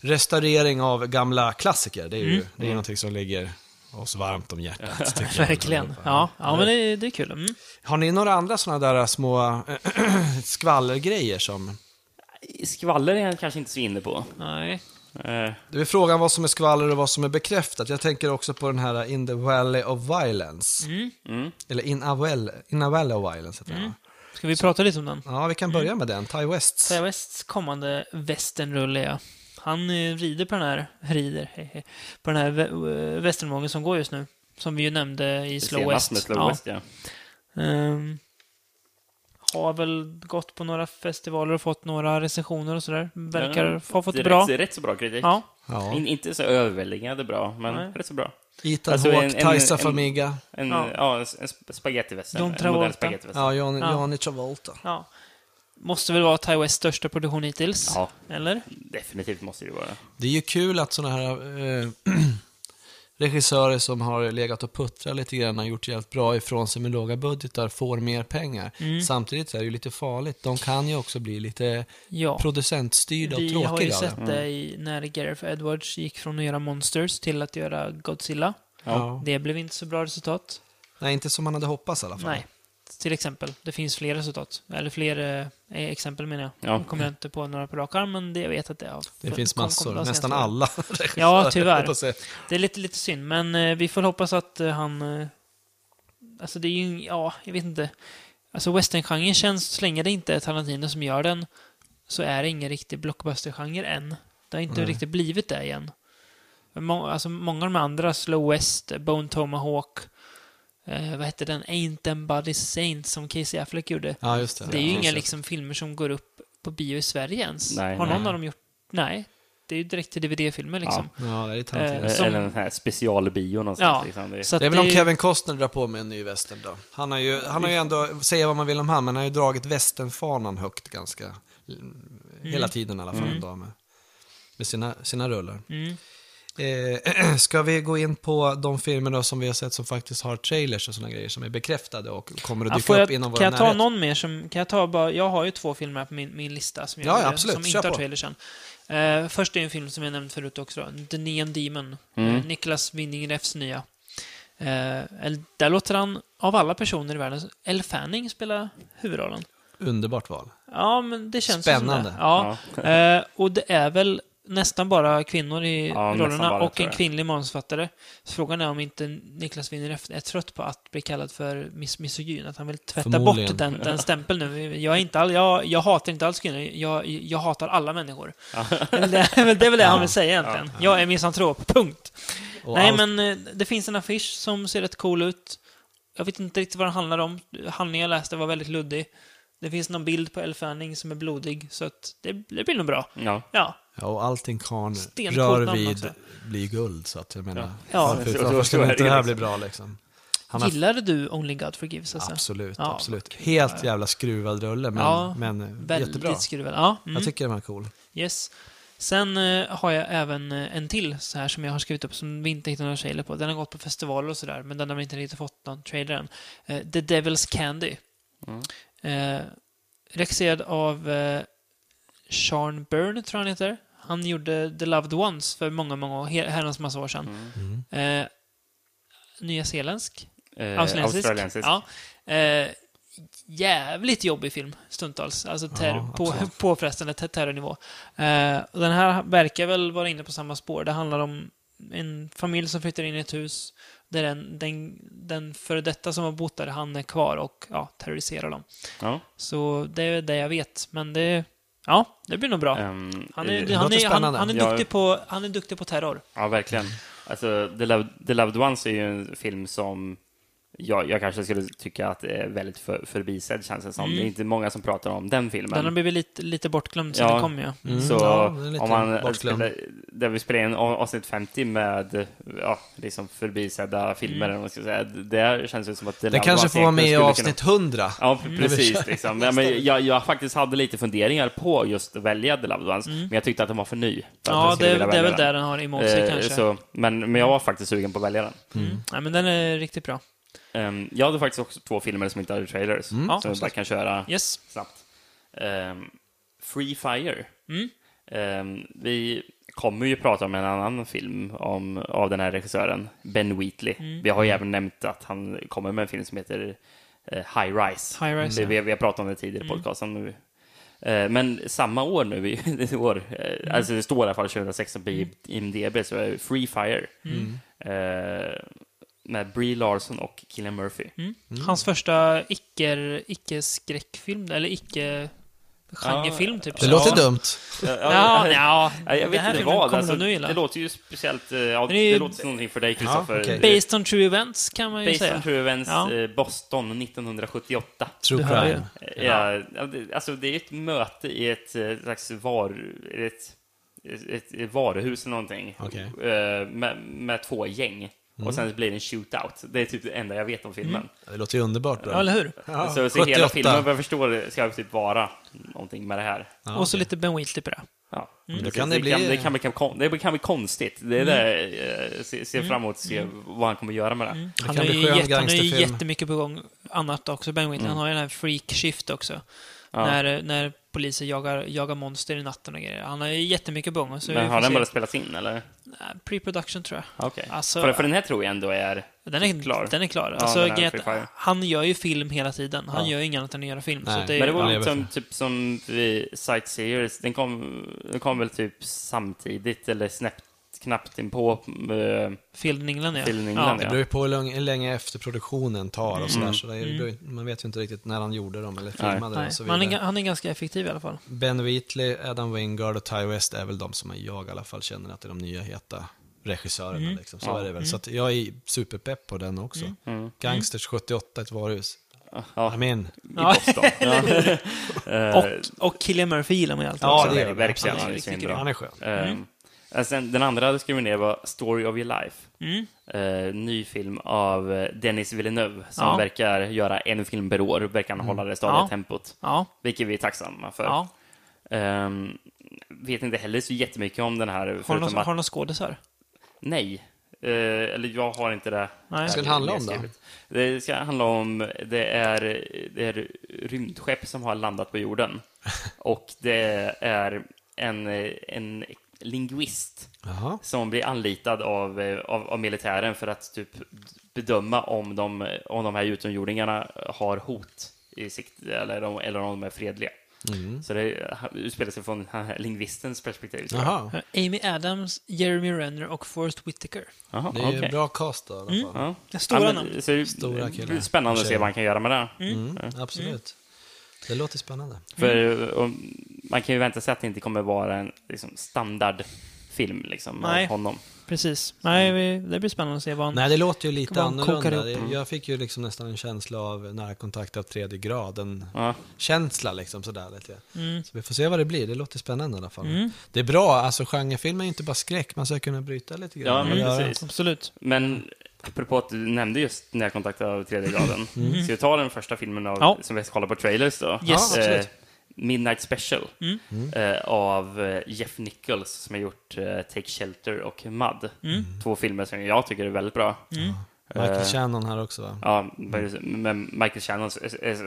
D: restaurering av gamla klassiker. Det är ju det är någonting som ligger oss varmt om hjärtat. tycker jag.
B: Verkligen. Ja, ja men det, det är kul. Mm.
D: Har ni några andra sådana där små skvallergrejer som...
C: Skvaller är jag kanske inte så inne på.
B: Nej.
C: Eh,
D: Det är frågan vad som är skvaller och vad som är bekräftat. Jag tänker också på den här In the Valley of Violence. Eller In a, well, in a Valley of Violence heter den. va?
B: Ska vi prata lite om den?
D: Ja, vi kan börja med den. Ty Wests.
B: Ty Wests kommande westernrulle, ja. Han eh, rider på den här, rider, hej, hej, på den här vä- eh, westernvågen som går just nu. Som vi ju nämnde i
C: det
B: Slow
C: senast
B: West.
C: med Slow
B: Ja.
C: West, ja.
B: Ehm, har väl gått på några festivaler och fått några recensioner och sådär. Verkar
C: Mm. Ja,
B: ha fått det
C: är
B: bra.
C: Rätt, det är rätt så bra kritik.
B: Ja.
D: Ja.
C: In, inte så överväldigande bra, men
B: Nej.
C: rätt så bra.
D: Ethan
C: Alltså, en-
D: Hawke,
C: en-
D: Taisa
C: en-
D: Famiga,
C: En,
B: Ja.
C: ja. en s- en sp- spagettivästern.
B: John
C: En modern
B: Travolta.
C: spagettivästern.
D: ja, Johnny,
B: Ja.
D: Johnny Travolta.
B: ja. Måste väl vara Ty Wests största produktion hittills?
C: Ja.
B: Eller?
C: Definitivt måste det vara.
D: Det är ju kul att sådana här eh, regissörer som har legat och puttrat lite grann och gjort jävligt bra ifrån sig med låga budgetar får mer pengar.
B: Mm.
D: Samtidigt är det ju lite farligt. De kan ju också bli lite
B: Ja.
D: producentstyrda och
B: Vi har ju
D: tråkiga av det. alltså.
B: sett
C: Mm.
B: det i, när Gareth Edwards gick från att göra Monsters till att göra Godzilla.
D: Ja.
B: Det blev inte så bra resultat.
D: Nej, inte som man hade hoppats i alla fall.
B: Nej. Till exempel. Det finns fler resultat. Eller fler eh, exempel menar jag.
C: Ja.
B: Nu kommer jag inte på några på rak arm, men det jag vet att det har...
D: Det finns
B: kom- kom
D: massor,
B: de senaste
D: nästan
B: åren.
D: alla
B: Ja, tyvärr.
D: höll på att säga.
B: Det är lite, lite synd, men eh, vi får hoppas att eh, han... Eh, alltså det är ju... Ja, jag vet inte. Alltså westerngenren känns... Så länge det inte är Tarantino som gör den så är det ingen riktig blockbustergenre än. Det har inte
D: Nej.
B: riktigt blivit det igen. Men Må, alltså många av de andra, Slow West, Bone Tomahawk, eh, vad hette den? Ain't Them Body Saints som Casey Affleck gjorde.
D: Ja, just det.
B: Det är ju
D: Ja,
B: inga
D: just
B: liksom filmer som går upp på bio i Sverige ens.
C: Nej,
B: har någon
D: nej.
B: av dem gjort? Nej. Det är ju direkt till DVD-filmer liksom.
D: Ja, det är Tarantino.
B: Eh,
C: Eller-
B: som-
C: Eller en sån här specialbio någonstans.
B: Ja.
C: Liksom. Det,
B: Så att
D: det är väl om Kevin Costner drar på med en ny western då. Han har ju, han har ju ändå, säga vad man vill om han, men han har ju dragit westernfanan högt ganska, mm, hela tiden i alla fall ändå med, med sina, sina rullar.
B: Mm.
D: Eh, ska vi gå in på de filmer då som vi har sett som faktiskt har trailers och sådana grejer som är bekräftade och kommer att
B: Ja,
D: dyka
B: får jag,
D: upp inom vår
B: kan jag ta
D: närhet?
B: någon mer? Som, kan jag, ta bara, jag har ju två filmer här på min, min lista som, jag,
D: Ja, ja,
B: gjorde,
D: absolut.
B: som
D: Kör
B: inte har
D: på.
B: trailers än. Eh, först är en film som jag nämnt förut också, då, The Neon Demon.
C: Mm.
B: Eh, Niklas Winding Refs nya. Eh, el- där låter han, av alla personer i världen, Elle Fanning spela huvudrollen.
D: Underbart val.
B: Ja, men det känns ju
D: Spännande.
B: Som det. Ja. Eh, och det är väl nästan bara kvinnor i
C: Ja, nästan
B: rollerna
C: bara,
B: och
C: tror
B: en
C: jag.
B: kvinnlig manusförfattare. Så frågan är om inte Niklas Winneref är trött på att bli kallad för mis misogyn. Att han vill tvätta
D: Förmodligen.
B: bort den, den stämpeln nu. Jag, är inte all, jag, jag hatar inte alls kvinnor. Jag, jag hatar alla människor. Det, är väl- det är väl det han vill säga egentligen. Jag är misantrop, punkt.
D: Och
B: Nej,
D: allt-
B: men eh, det finns en affisch som ser rätt cool ut. Jag vet inte riktigt vad den handlar om. Handlingen jag läste var väldigt luddig. Det finns någon bild på Elle Fanning som är blodig, så att det, det blir nog bra.
C: ja.
B: Ja,
D: Ja, och allting karn
B: Stencoolt
D: rör
B: namn
D: vid
B: också.
D: blir guld, så att jag menar...
B: Ja,
D: varför,
C: så-
D: varför
C: så- så
D: skulle
C: är
D: inte
C: det
D: det här
C: liksom.
D: bli bra liksom? Han har,
B: Gillade du Only God Forgives? Alltså?
D: absolut,
B: Ja,
D: absolut.
B: okej.
D: Helt jävla skruvad rulle, men,
B: Ja,
D: men eh,
B: Väldigt
D: jättebra.
B: skruvad. Ja, mm,
D: Jag tycker den var cool.
B: yes. Sen eh, har jag även eh, en till så här som jag har skrivit upp som vi inte hittat några trailer på. Den har gått på festivaler och sådär, men den har vi inte riktigt fått någon trailer än. Eh, The Devil's Candy. Eh, regisserad av eh, Sean Byrne, tror jag han heter. Han gjorde The Loved Ones för många, många år, her- herrans massa år sedan.
D: Mm.
B: Eh, Nyzeeländsk?
C: Eh,
B: Australiensisk.
C: australiensisk.
B: Ja. Eh, jävligt jobbig film stundtals. Alltså ter-
D: Ja,
B: på,
D: absolut.
B: påfrestande ter- terrornivå. Eh, och den här verkar väl vara inne på samma spår. Det handlar om en familj som flyttar in i ett hus där den, den, den före detta som har bott där, han är kvar och ja, terroriserar dem.
C: Ja.
B: Så det är det jag vet. Men det... Ja, det blir nog bra.
C: Ehm,
B: Han är,
C: eh,
B: han,
D: låter
B: är, han,
D: spännande.
B: han, är
C: Ja.
B: duktig på, han är duktig på terror.
C: Ja, verkligen. Alltså, The, Loved, The Loved Ones är ju en film som jag, jag kanske skulle tycka att är väldigt för, förbisedd, känns det som. Det är inte många som pratar om den filmen.
B: Mm. Den har blivit lite, lite bortglömd sen
C: Ja.
B: den kom ju.
C: Mm.
D: Mm.
C: Så
D: ja, den är lite
C: om man
D: bortglömd.
C: spelar, där vi spelar in a- avsnitt 50 med ja, liksom förbisedda
B: Mm.
C: filmer, eller vad man ska säga. Där känns det som att The
D: Den
C: Loved
D: kanske
C: Ones
D: får vara med i
C: egentligen skulle kunna-
D: avsnitt 100.
C: Ja,
B: Mm.
C: p- precis. Liksom. Nej, men jag, jag faktiskt hade lite funderingar på just att välja The Loved Ones, men jag tyckte att den var för ny. för att jag
B: Mm. Ja,
C: skulle
B: det,
C: vilja
B: det är
C: välja
B: väl där den har emot sig
C: Eh,
B: kanske.
C: Så, men, men jag var faktiskt sugen på att välja den.
B: Mm. Nej, men den är riktigt bra.
C: Ehm, jag hade faktiskt också två filmer som inte hade trailers,
B: Mm. Ja,
C: som jag bara kan köra
B: Yes.
C: snabbt. Ehm, Free Fire.
B: Mm.
C: Ehm, vi kommer ju prata om en annan film om, av den här regissören, Ben Wheatley.
B: Mm.
C: Vi har ju även nämnt att han kommer med en film som heter eh, High Rise.
B: High Rise, Mm.
C: Det, vi, vi har pratat om det tidigare i podcasten. Nu. Eh, Men samma år nu, i- i år, eh,
B: Mm.
C: alltså det står i alla fall 2016 på IMDB, så är det Free Fire.
B: Mm.
C: Eh, Med Brie Larson och Killian Murphy.
B: Mm. Hans första icke- icke-skräckfilm, eller icke-genrefilm, typ.
D: Det
B: Så-
D: låter dumt.
C: Ja,
B: Ja,
C: ja,
B: ja,
C: ja,
B: det
C: jag vet
B: här
C: inte
B: filmen
C: vad.
B: kommer
C: Alltså,
B: nog du gilla.
C: det låter ju speciellt. eh, Ja,
B: är
C: det,
B: ju-
C: låter som någonting för dig, Kristoffer.
D: okej.
C: Det-
B: Based on true events, kan man ju
C: Based
B: säga.
C: on True Events,
B: Ja.
C: eh, Boston 1978.
D: True
B: Du hör
D: crime.
C: Ja. Ja, det- alltså det är ett möte i ett eh, slags var, ett, ett, ett varuhus eller någonting
D: Okej. Mm.
C: Eh, med, med två gäng. Och sen blir det en shootout. Det är typ det enda jag vet om filmen.
D: Det låter ju underbart
B: Ja,
D: bra.
B: eller hur?
D: Mm. Ja,
C: så så hela
D: 78.
C: filmen, vad jag förstår, det ska typ vara någonting med det här.
D: Ja,
B: Och så
D: okej.
B: lite Ben Wheatley på det.
C: Ja.
D: Mm. Då
C: Precis.
D: kan det bli-
C: kan, det, kan bli, kon- det kan bli konstigt. Det är
B: Mm.
C: det jag ser, ser fram emot, att se vad han kommer göra med det.
D: Det
B: Han
D: kan
B: har,
D: bli
B: ju
D: skön
B: jätte, han har ju
D: gangsterfilm. Mm.
B: jättemycket på gång annat också. Ben Whitley, han har ju den här freak shift också.
C: Ja.
B: När, när poliser jagar, jagar monster i natten och grejer. Han har ju jättemycket på gång. Så vi
C: Men
B: får
C: har den
B: se.
C: bara spelats in, eller?
B: Nej, Pre-production tror jag.
C: Okej.
B: Alltså-
C: för, för den här tror jag ändå är...
B: Den är
C: Klar.
B: klar. Den är klar.
C: Ja,
B: Alltså,
C: den är
B: grejen
C: Free
B: är
C: Fire.
B: att han gör ju film hela tiden. Han gör ju inget annat än att göra film. Så
D: Nej.
B: att det,
C: Men det
D: Ja,
C: var
D: jag vet
C: liksom typ som vi Sightseers, den kom, den kom väl typ samtidigt eller snäppt, knappt inpå uh,
B: Field in England, ja.
C: Field in
B: ja.
C: England,
D: Det
C: ja. Mm.
D: beror ju på hur lång- hur länge efterproduktionen tar och sådär. Så det är- det beror ju- man vet ju inte riktigt när han gjorde dem eller filmade dem
B: Mm. Nej,
D: och så
B: men han, är, ga-
D: vidare.
B: han är ganska effektiv i alla fall.
D: Ben Wheatley, Adam Wingard och Ty West är väl de som jag i alla fall känner att är de nya heta regissörerna. Liksom. Så är det väl. Så att jag är superpepp på den också. Gangsters 78, ett varuhus.
C: ja,
D: I'm in.
C: i
B: Ja.
C: Boston. Ja. Eh,
B: Och, och Killian Murphy gillar man ju alltid
D: Ja,
B: också.
C: så
D: det
C: det
D: gör
C: är
D: vi.
C: verkligen.
B: Ja,
C: Han
B: det
C: är
B: tycker
C: svinbra.
B: jag. Mm.
D: Han är
C: Eh,
D: skön.
C: och sen, den andra jag skrev ner var Story of Your Life.
B: Mm.
C: Eh, ny film av eh, Dennis Villeneuve som
B: Ja. Mm.
C: verkar göra en film per år. Verkar han hålla det stadiga
B: Ja.
C: tempot.
B: Ja,
C: Vilket vi är tacksamma för.
B: ja.
C: Ehm, vet inte heller så jättemycket om den här.
B: Har du
C: förutom
B: någon,
C: att-
B: har du någon skådisar?
C: Nej. Eh, eller jag har inte det.
B: Nej.
D: Ska den handla om då?
C: Det ska handla om, det är, det är rymdskepp som har landat på jorden. Och det är en, eh, en linguist
D: Jaha.
C: som blir anlitad av, eh, av, av militären för att typ bedöma om de, om de här utomjordingarna har hot i sikt eller, de, eller om de är fredliga.
D: Mm.
C: Så det utspelar sig från den här lingvistens perspektiv. tror jag.
D: Jaha.
B: Amy Adams, Jeremy Renner och Forrest Whitaker.
C: Jaha,
D: Det är ju
C: okej.
D: bra cast då, i alla fall.
C: Ja.
B: Stora
C: men
B: namn.
C: Så, det är ju
D: Stora killar.
C: Spännande att se
D: Tjejer.
C: vad han kan göra med det.
D: Mm, absolut. Det låter spännande.
C: För om- man kan ju vänta sig att det inte kommer vara en liksom, standardfilm liksom,
B: Nej.
C: av honom.
B: Precis. Nej, vi, det blir spännande att se vad han...
D: Nej, det låter ju lite
B: Kan man koka
D: annorlunda.
B: det
D: Det- Jag fick ju liksom nästan en känsla av nära kontakt av tredje grad. En
C: Ja.
D: känsla liksom sådär lite.
B: Mm.
D: Så vi får se vad det blir. Det låter spännande i alla fall.
B: Mm.
D: Det är bra, alltså genrefilm är inte bara skräck. Man ska kunna bryta lite grann.
C: Ja, men
B: Mm.
D: Göra-
C: precis.
B: Absolut.
C: Men apropå att du nämnde just närkontakt av tredje graden. Så vi tar den första filmen av,
B: Mm. Ja.
C: som vi kollar på trailers då.
B: Yes. Ja,
C: Eh,
B: absolut. Mm.
C: Midnight Special eh, av eh, Jeff Nichols som har gjort eh, Take Shelter och Mud.
B: Mm.
C: Två filmer som jag tycker är väldigt bra.
D: Michael
C: Eh,
D: Shannon här också va?
C: Ja, men Michael Shannon,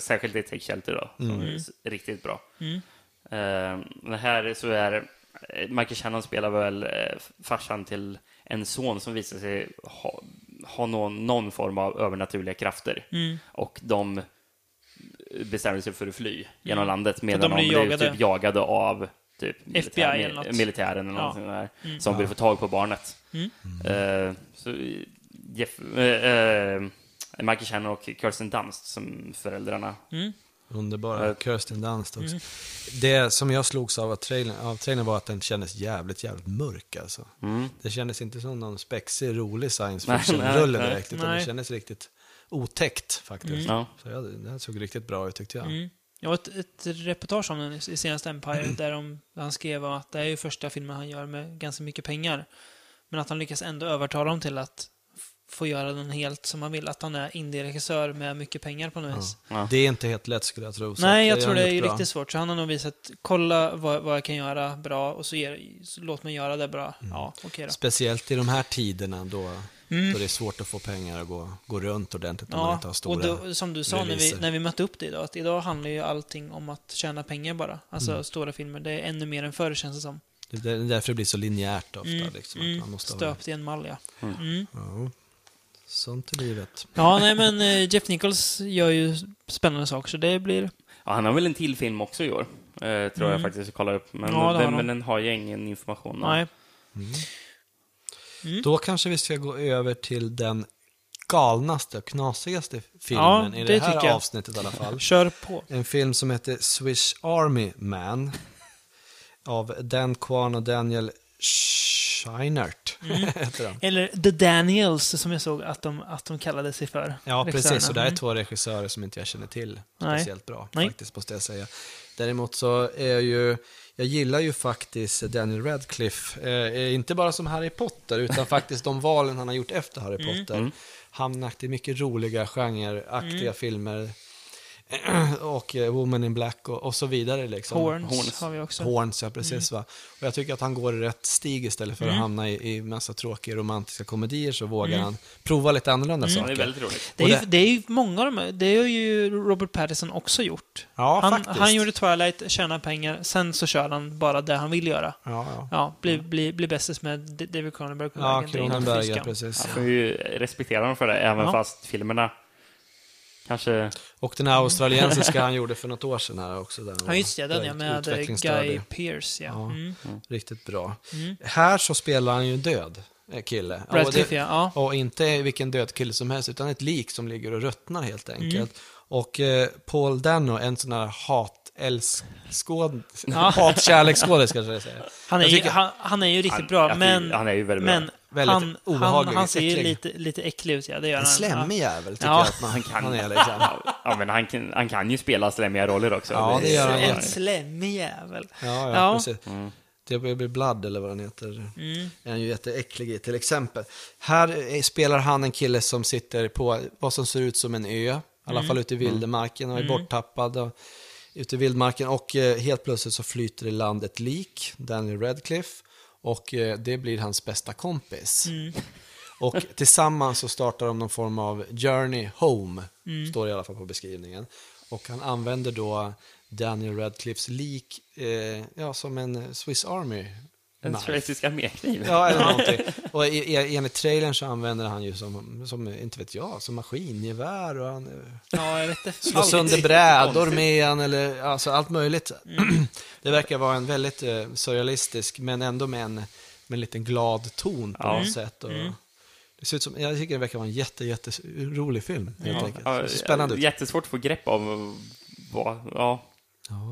C: särskilt i Take Shelter då, som
B: Mm.
C: är s- riktigt bra. Eh, men här så är eh, Michael Shannon spelar väl eh, farsan till en son som visar sig ha, ha någon, någon form av övernaturliga krafter.
B: Mm.
C: Och de bestämmer sig för att fly genom landet medan
B: Mm. de
C: de
B: blir
C: blir
B: jagade.
C: typ jagade av typ militär,
B: FBI eller något.
C: militären eller
B: Ja. Mm.
C: någonting där, som vill få tag på barnet. Eh, så Jeff, eh, eh, Michael Shannon och Kirsten Dunst som föräldrarna.
B: Mm.
D: Underbara. Kirsten Dunst också. Det som jag slogs av, att trailern, av trailern var att den kändes jävligt, jävligt mörk alltså. Det kändes inte som någon spexig, rolig science
C: Nej,
D: fiction-rulle
C: nej, nej.
D: direkt, utan det
B: Nej.
D: kändes riktigt otäckt faktiskt.
C: Ja.
D: Så jag, det här såg riktigt bra ut tyckte jag.
B: Mm. Jag har ett, ett reportage om den i i senaste Empire där de, där han skrev om att det här är ju första filmen han gör med ganska mycket pengar. Men att han lyckas ändå övertala dem till att f- få göra den helt som han vill. Att han är indie-regissör med mycket pengar på något vis.
C: Ja.
D: Det är inte helt lätt skulle jag tro. så
B: Nej,
D: att
B: jag tror
D: har
B: det
D: han
B: är
D: gjort bra.
B: riktigt svårt. Så han har nog visat, kolla vad, vad jag kan göra bra och så, ger, så låt mig göra det bra.
D: Mm.
B: Ja, okej då.
D: Speciellt i de här tiderna då, då det är svårt att få pengar att gå, gå runt ordentligt om man
B: Ja,
D: inte har
B: och
D: stora...
B: då, som du sa när vi,
D: releaser.
B: när vi mötte upp det idag, att idag handlar ju allting om att tjäna pengar bara. Alltså
D: Mm.
B: stora filmer, det är ännu mer än förr känns det som.
D: Det är därför det blir så linjärt ofta.
B: Mm,
D: Liksom, att man
B: mm,
D: måste ha,
B: stöpt i en mall ja.
C: Mm.
B: Mm.
D: ja, sånt är livet.
B: Ja, nej men eh, Jeff Nichols gör ju spännande saker, så det blir...
C: Ja, han har väl en till film också i år? eh, tror jag faktiskt jag kollar upp. Men,
B: Ja, det har
C: den,
B: de.
C: men den har ju ingen information. om.
B: Nej. Mm.
D: Då kanske vi ska gå över till den galnaste och knasigaste filmen
B: Ja,
D: i det
B: det
D: här
B: tycker jag.
D: avsnittet i alla fall.
B: Kör på.
D: En film som heter Swiss Army Man av Dan Kwan och Daniel Scheinert.
B: Mm.
D: heter de.
B: Eller The Daniels, som jag såg att de, att de kallade sig för.
D: Ja,
B: regissörerna.
D: precis. Och det här är
B: Mm.
D: två regissörer som inte jag känner till
B: Nej.
D: speciellt bra,
B: Nej.
D: faktiskt, måste jag säga. Däremot så är jag ju, jag gillar ju faktiskt Daniel Radcliffe, eh, inte bara som Harry Potter, utan faktiskt de valen han har gjort efter Harry
B: Mm.
D: Potter. Hamnat i mycket roliga genreaktiga
B: Mm.
D: filmer. och eh, Woman in Black och, och så vidare liksom.
B: Mm. Horns,
C: Horns.
B: har vi också. Mm.
D: Horns, ja precis va. Och jag tycker att han går i rätt stig istället för att hamna i, i massa tråkiga romantiska komedier så vågar
B: Mm.
D: han prova lite annorlunda
C: Ja, Det är
D: saker.
C: väldigt roligt.
B: Det är,
D: Och
B: ju, det är ju många av de här- Det har ju Robert Pattinson också gjort.
D: Ja,
B: han,
D: faktiskt.
B: han gjorde Twilight, tjänar pengar, sen så kör han bara det han vill göra.
D: Ja, ja.
B: Ja, blir bli, bli bästis med D- David Cronenberg. på
D: Mm. Ja,
B: vägen. Det är inte
D: Cronenberg, ja,
B: fiskan.
D: precis.
C: Man får ju respektera dem för det, även
B: Ja.
C: fast filmerna kanske...
D: Och den här australiensiska han gjorde för något år sedan här också. Där
B: Ja, just det. Den ja, med
D: utvecklingsstördig.
B: Guy Pearce, ja.
D: Ja.
B: Mm.
D: Riktigt bra. Här så spelar han ju en död eh, kille. Ja, och det-
B: Radcliffe, ja. ja.
D: Och inte vilken död kille som helst, utan ett lik som ligger och ruttnar helt
B: Mm.
D: enkelt. Och eh, Paul Dano, en sån här hat hatkärleksskådis kanske jag säger.
B: Han, är
D: Jag
B: ju,
D: tycker-
B: han, han är ju riktigt
C: Han-
B: bra,
C: jag
B: men...
C: tycker- han är ju väldigt bra.
B: men
D: Väldigt
B: han,
D: obehaglig,
B: Han, han ser ju
D: äcklig.
B: lite, lite äcklig ut, ja. Det gör han.
D: En slemmig
B: ja.
D: jävel tycker
B: Ja.
D: jag att man, han, kan. han är. Liksom.
C: Ja, men han, kan- han kan ju spela slemmiga roller också.
D: Ja, det gör han.
B: En slemmig jävel.
D: Ja, ja,
B: Ja.
D: precis. Det blir Blood eller vad den heter. Den är ju jätteäcklig i till exempel. Här eh, spelar han en kille som sitter på vad som ser ut som en ö. I alla fall ute i vildmarken och är borttappad. Och, ute i vildmarken och eh, helt plötsligt så flyter i land ett lik, Daniel Radcliffe. Och eh, det blir hans bästa kompis. Och tillsammans så startar de någon form av journey home, står det i alla fall på beskrivningen. Och han använder då Daniel Radcliffes lik eh, ja, som en Swiss Army.
C: En
D: knife.
C: schweizisk armékniv.
D: Ja, eller någonting. Och i- i- enligt trailern så använder han ju som, som inte vet jag, som maskingevär och han eh,
B: Ja, jag vet inte.
D: slår sönder brädor med han eller alltså allt möjligt. Det verkar vara en väldigt eh, surrealistisk, men ändå med en, med en liten glad ton på
C: Mm.
D: något sätt. Och, Det ser ut som, jag tycker det verkar vara en jätte, jätte rolig film, helt enkelt.
C: Ja,
D: Det ser spännande ut.
C: Jättesvårt att få grepp om vad, ja.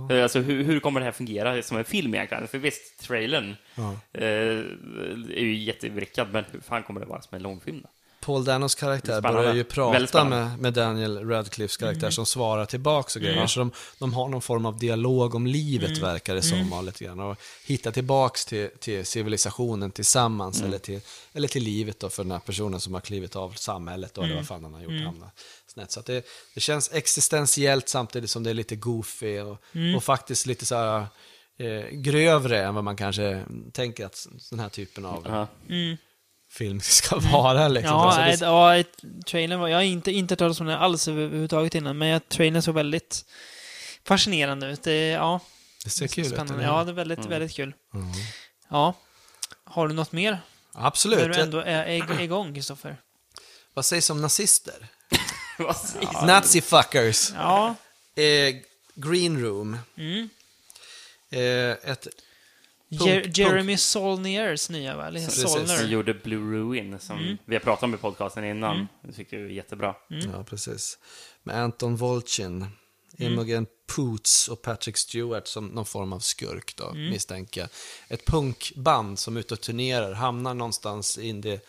D: Ja.
C: Eh, Alltså hur, hur kommer det här fungera som en film egentligen? För visst, trailern
D: Ja.
C: eh, är ju jättebrickad, men hur fan kommer det vara som en långfilm då?
D: Paul Danos karaktär
C: Spännande.
D: börjar ju
C: Väldigt
D: prata
C: spännande.
D: med, med Daniel Radcliffes karaktär
B: Mm.
D: som svarar tillbaks och grejer. Så de, de har någon form av dialog om livet
C: Mm.
D: verkar det
B: Mm.
D: som. och Lite grann, och hitta tillbaks till, till civilisationen tillsammans
B: Mm.
D: eller, till, eller till livet då för den här personen som har klivit av samhället då,
B: Mm.
D: eller vad fan han har gjort. Hamnat snett. Så att det, det känns existentiellt samtidigt som det är lite goofy och,
B: Mm.
D: och faktiskt lite så här eh, grövre än vad man kanske tänker att s- den här typen av
C: Ja.
D: film ska vara. Liksom.
B: Ja,
D: Alltså, det-
B: nej, det... ja ett- trailern var... Jag har inte, inte hört talas om den alls över- överhuvudtaget innan, men jag, trailern såg väldigt fascinerande ut. Det, ja,
D: Det ser kul ut.
B: spännande.
D: eller?
B: Ja, det är väldigt,
C: Mm.
B: väldigt kul. Ja. Har du något mer? När
D: Absolut.
B: du ändå är, är, är igång, Kristoffer?
D: Vad sägs om nazister?
C: Vad sägs?
D: Nazi fuckers.
B: Ja.
D: Eh, green room.
B: Mm.
D: Eh, ett,
B: Jer-
D: Punk,
B: Jeremy Solniers nya, va? Eller
D: Precis.
C: Som
B: Solner.
C: gjorde Blue Ruin, som
B: Mm.
C: vi har pratat om i podcasten innan. Jag tycker det är jättebra.
D: Ja, precis. Med Anton Volchin,
B: Mm.
D: Imogen Poots och Patrick Stewart som någon form av skurk då,
B: Mm.
D: misstänker jag. Ett punkband som är ute och turnerar, hamnar någonstans in the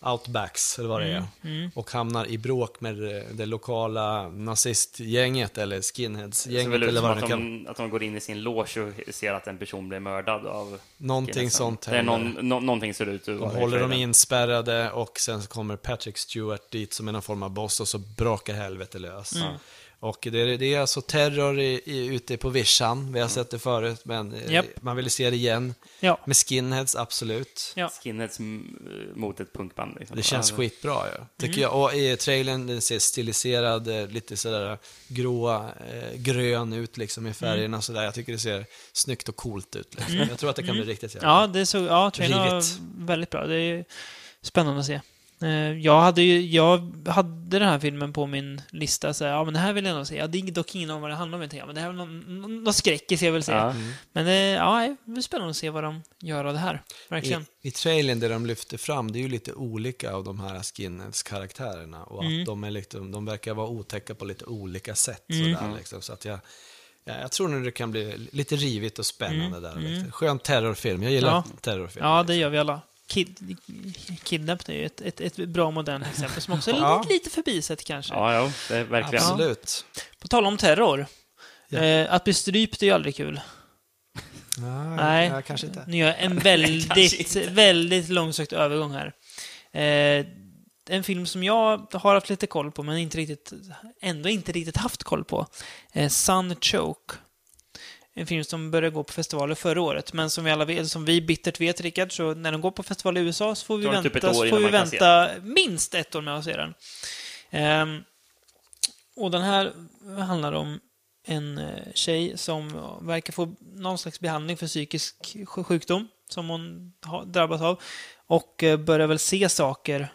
D: outbacks, eller vad
B: Mm.
D: det är. Och hamnar i bråk med det, det lokala nazistgänget eller
C: Det ser
D: skinheadsgänget
C: väl ut
D: eller
C: som
D: vad
C: att
D: det kan
C: de, att de går in i sin loge och ser att en person blir mördad av...
D: Någonting
C: killen.
D: sånt
C: Det är
D: händer.
C: någon, nå- någonting ser det ut att
D: De
C: vara i
D: håller dem
C: trailern.
D: inspärrade och sen så kommer Patrick Stewart dit som är någon form av boss och så brakar helvete lös.
B: Mm.
D: Och det är, det är alltså terror i, i, ute på vischan,
C: Mm.
D: vi har sett det förut men eh,
B: Japp.
D: man vill se det igen.
B: Ja.
D: Med skinheads, absolut.
B: ja.
C: Skinheads m- mot ett punkband. Liksom.
D: Det känns
C: Ja.
D: skitbra
B: Mm.
D: ju, tycker jag. Och i trailern, den ser stiliserad, eh, lite sådär gråa, eh, grön ut liksom i färgerna
B: Mm.
D: och sådär. Jag tycker det ser snyggt och coolt ut. Liksom.
B: Mm.
D: Jag tror att det kan bli riktigt jävla
B: Ja, det såg, ja, trailern
D: Rivet.
B: var väldigt bra. Det är spännande att se. Eh, Jag hade ju, jag hade den här filmen på min lista så här, ja men det här vill jag nog se. Jag hade dock ingen om vad det handlar om, jag tänkte, ja, men det här är någon, någon- någon skräckis jag vill se.
C: Ja.
D: Mm.
B: Men det, ja, det är spännande att se vad de gör av det här. Verkligen.
D: I, I trailern det de lyfter fram, det är ju lite olika av de här skinheads-karaktärerna. Och
B: Mm.
D: att de, är liksom, de verkar vara otäcka på lite olika sätt.
B: Mm.
C: Mm-hmm.
D: Sådär, liksom. Så att jag, ja, jag tror nu det kan bli lite rivigt och spännande där. Liksom. Skön terrorfilm, jag gillar
B: Mm. Ja.
D: terrorfilm.
B: Ja, det gör vi alla. Kid, kidnapped är ju ett, ett, ett bra modernt exempel som också är
D: Ja.
B: lite, lite förbisett kanske.
C: Ja, ja, det är verkligen.
D: Absolut.
B: På tal om terror.
D: Ja.
B: Eh, att bli strypt är ju aldrig kul.
D: Nej,
B: Nej.
D: ja, kanske inte.
B: Nu gör jag en väldigt, väldigt långsökt övergång här. Eh, en film som jag har haft lite koll på, men inte riktigt, ändå inte riktigt haft koll på. Eh, Sun Choke. En film som började gå på festivaler förra året, men som vi alla vet, som vi bittert vet, Rickard, så när den går på festival i USA så får vi
C: Tar det typ
B: vänta,
C: ett år
B: så får
C: innan
B: vi
C: man kan se
B: vänta minst ett år med att se den. Ehm, och den här handlar om en eh, tjej som verkar få någon slags behandling för psykisk sj- sjukdom som hon har drabbats av. Och eh, börjar väl se saker.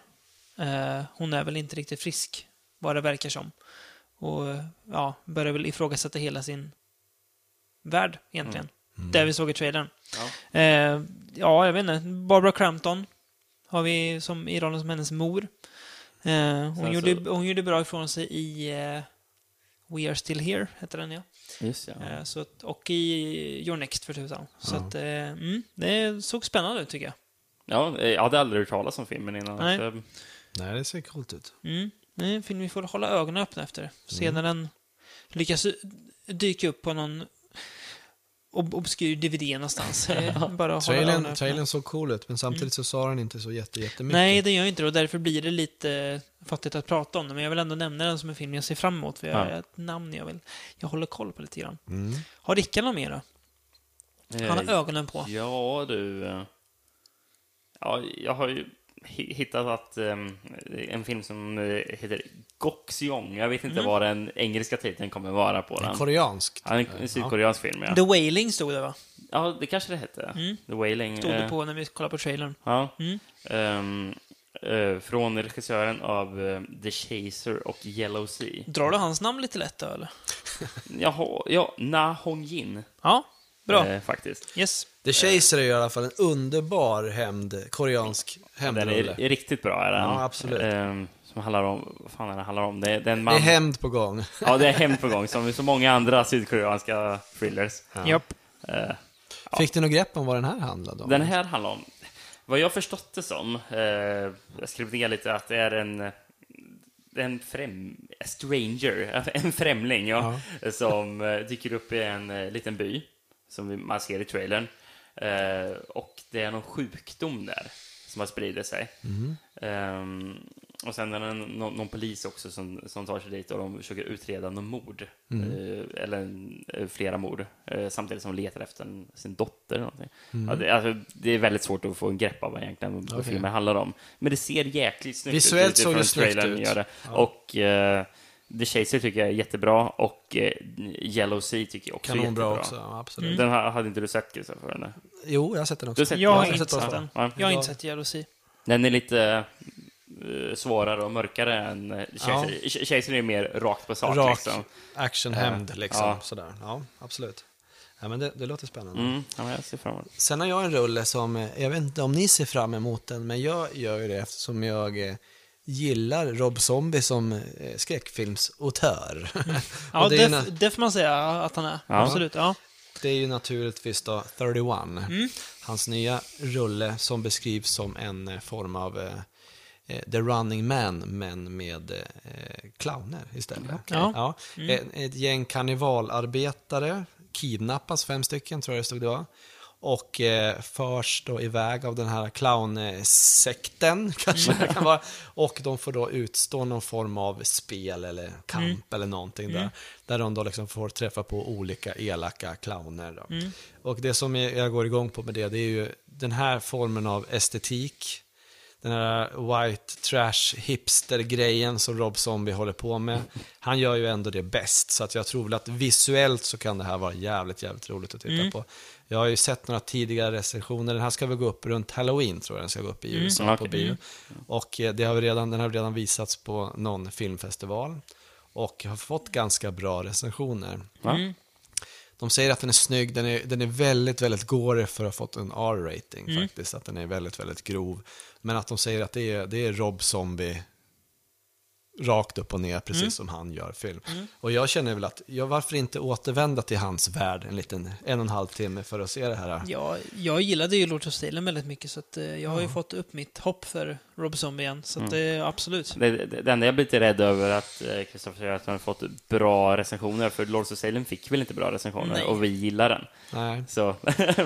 B: Eh, Hon är väl inte riktigt frisk, vad det verkar som. Och eh, ja, börjar väl ifrågasätta hela sin värld egentligen. Där vi såg i trailern. Ja. Eh, ja, jag vet inte. Barbara Crampton har vi som, i rollen som hennes mor. Eh, hon,
C: Sen så-
B: gjorde, hon gjorde bra ifrån sig i eh, We Are Still Here, heter den ja.
C: Just, ja.
B: Eh, så att, och i Your Next för tusan. Så att, eh, mm, det såg spännande ut tycker jag.
C: Ja, eh, jag hade aldrig hört talas om filmen innan.
B: Nej.
C: så, eh,
D: Nej, det ser coolt ut.
B: Mm. Det är en film vi får hålla ögonen öppna efter. Se när den lyckas dyka upp på någon ob obskyr DVD någonstans. Eh, Bara hålla ögonen
D: Trailern,
B: öppna.
D: trailern såg cool ut, men samtidigt så sa den inte så jätte, jättemycket.
B: Mm. Nej, det gör ju inte det och därför blir det lite fattigt att prata om den. Men jag vill ändå nämna den som en film jag ser fram emot. För jag
C: Ja.
B: har ett namn jag vill... Jag håller koll på lite grann.
D: Mm.
B: Har Rickard något mer då? Han har
C: eh,
B: ögonen på.
C: Ja, du. eh, Ja, jag har ju hi- hittat att ehm, en film som eh, heter Goxiong. Jag vet inte
B: Mm.
C: vad den engelska titeln kommer vara på
D: En Mm.
C: den.
D: koreansk.
C: Ja, en en sydkoreansk film, ja.
B: The Wailing stod det va?
C: Ja, det kanske det hette. The Wailing.
B: Mm. Stod det
C: eh,
B: på när vi kollade på trailern.
C: Ja.
B: Mm.
C: Ehm, eh, från regissören av eh, The Chaser och Yellow Sea.
B: Drar du hans namn lite lätt då eller?
C: Jaha, ja, Na Hong Jin.
B: Ja, bra.
C: Eh, faktiskt.
B: Yes.
D: The Chaser är ju i alla fall en underbar hämnd, koreansk
C: Den
D: hämndrulle.
C: är, är riktigt bra. Är den.
D: Ja, absolut.
C: Ehm, som handlar om, vad fan är det handlar om? Det är, det är en
D: Det är
C: man.
D: hämnd på gång.
C: ja, det är hem på gång, som så många andra sydkoreanska thrillers.
B: Japp.
C: Eh,
D: Fick du något grepp om vad den här handlade om?
C: den här handlar om, vad jag förstått det som, eh, jag skrev ner lite att det är en det är en främ, a stranger, en främling, ja, som eh, dyker upp i en eh, liten by, som vi- man ser i trailern. Eh, och det är någon sjukdom där som har spridit sig.
D: Mm-hmm.
C: Ehm, och sen är det någon, någon polis också som, som tar sig dit och de försöker utreda någon mord.
D: Mm-hmm.
C: Eh, eller eh, flera mord. Eh, samtidigt som de letar efter en, sin dotter. Eller någonting.
D: Mm-hmm.
C: Ja, det, alltså, det är väldigt svårt att få en grepp av vad egentligen vad filmen handlar om. Men det ser jäkligt snyggt
D: Visuellt
C: ut.
D: såg det
C: utifrån
D: snyggt
C: trailern
D: ut.
C: Gör det. Och eh, The Chaser tycker jag är jättebra och eh, Yellow Sea tycker jag också är jättebra.
D: Kanonbra också, ja, absolut.
C: Den här hade inte du sett Kristoffer? eller?
D: Jo, jag har sett den
C: Du
D: också.
C: har sett
B: Mm. Jag har
D: Jag har
B: inte
D: sett
B: sett
D: oss
B: den.
C: Ja.
B: Jag har inte sett Jealousy.
C: Den är lite eh, svårare och mörkare än eh, Chaser. Ja. Chaser är mer rakt på sak.
D: Rak
C: Liksom.
D: actionhämnd, liksom.
C: Ja.
D: Sådär. Ja, absolut. Ja, men det, det låter spännande.
C: Mm. Ja, men jag ser fram emot
D: Sen har jag en rulle som, eh, jag vet inte om ni ser fram emot den, men jag gör ju det eftersom jag eh, gillar Rob Zombie som eh, skräckfilmsauteur.
B: Mm. Ja,
D: Och
B: det,
D: det, är ju
B: f-
D: na-
B: det får man säga att han är. Absolut. Ja.
D: det är ju naturligtvis då 31, hans nya rulle som beskrivs som en eh, form av eh, eh, The Running Man, men med eh, clowner istället.
B: Ja.
D: Ja. Ett, ett gäng karnevalarbetare kidnappas, fem stycken tror jag det stod det var. Och eh, förs då iväg av den här clownsekten, kanske det kan vara. Och de får då utstå någon form av spel eller kamp eller någonting där. Där de då liksom får träffa på olika elaka clowner. Då. Och det som jag jag går igång på med det, det är ju den här formen av estetik den här white trash hipster-grejen som Rob Zombie håller på med. Han gör ju ändå det bäst, så att jag tror väl att visuellt så kan det här vara jävligt, jävligt roligt att titta
C: Mm.
D: på. Jag har ju sett några tidigare recensioner, den här ska väl gå upp runt halloween tror jag den ska gå upp i USA
C: Mm,
D: på
C: okej.
D: bio. Och eh, det har vi redan, den har redan visats på någon filmfestival och har fått ganska bra recensioner.
C: Va?
D: De säger att den är snygg, den är, den är väldigt, väldigt gore för att ha fått en R-rating
C: Mm.
D: faktiskt. Att den är väldigt, väldigt grov. Men att de säger att det är, det är Rob Zombie rakt upp och ner, precis
C: Mm.
D: som han gör film. Och jag känner väl att, ja, varför inte återvända till hans värld en liten, en och en halv timme för att se det här?
B: Ja, jag gillade ju Lords of Stilen väldigt mycket så att, eh, jag har ju fått upp mitt hopp för Rob Zombie igen.
D: Mm.
B: Så att, eh, absolut.
C: Det, det, det enda jag blir lite rädd över är att eh, Kristoffer säger att han har fått bra recensioner, för Lords of Salem fick väl inte bra recensioner,
B: Nej.
C: och vi gillar den.
D: Nej.
C: Så,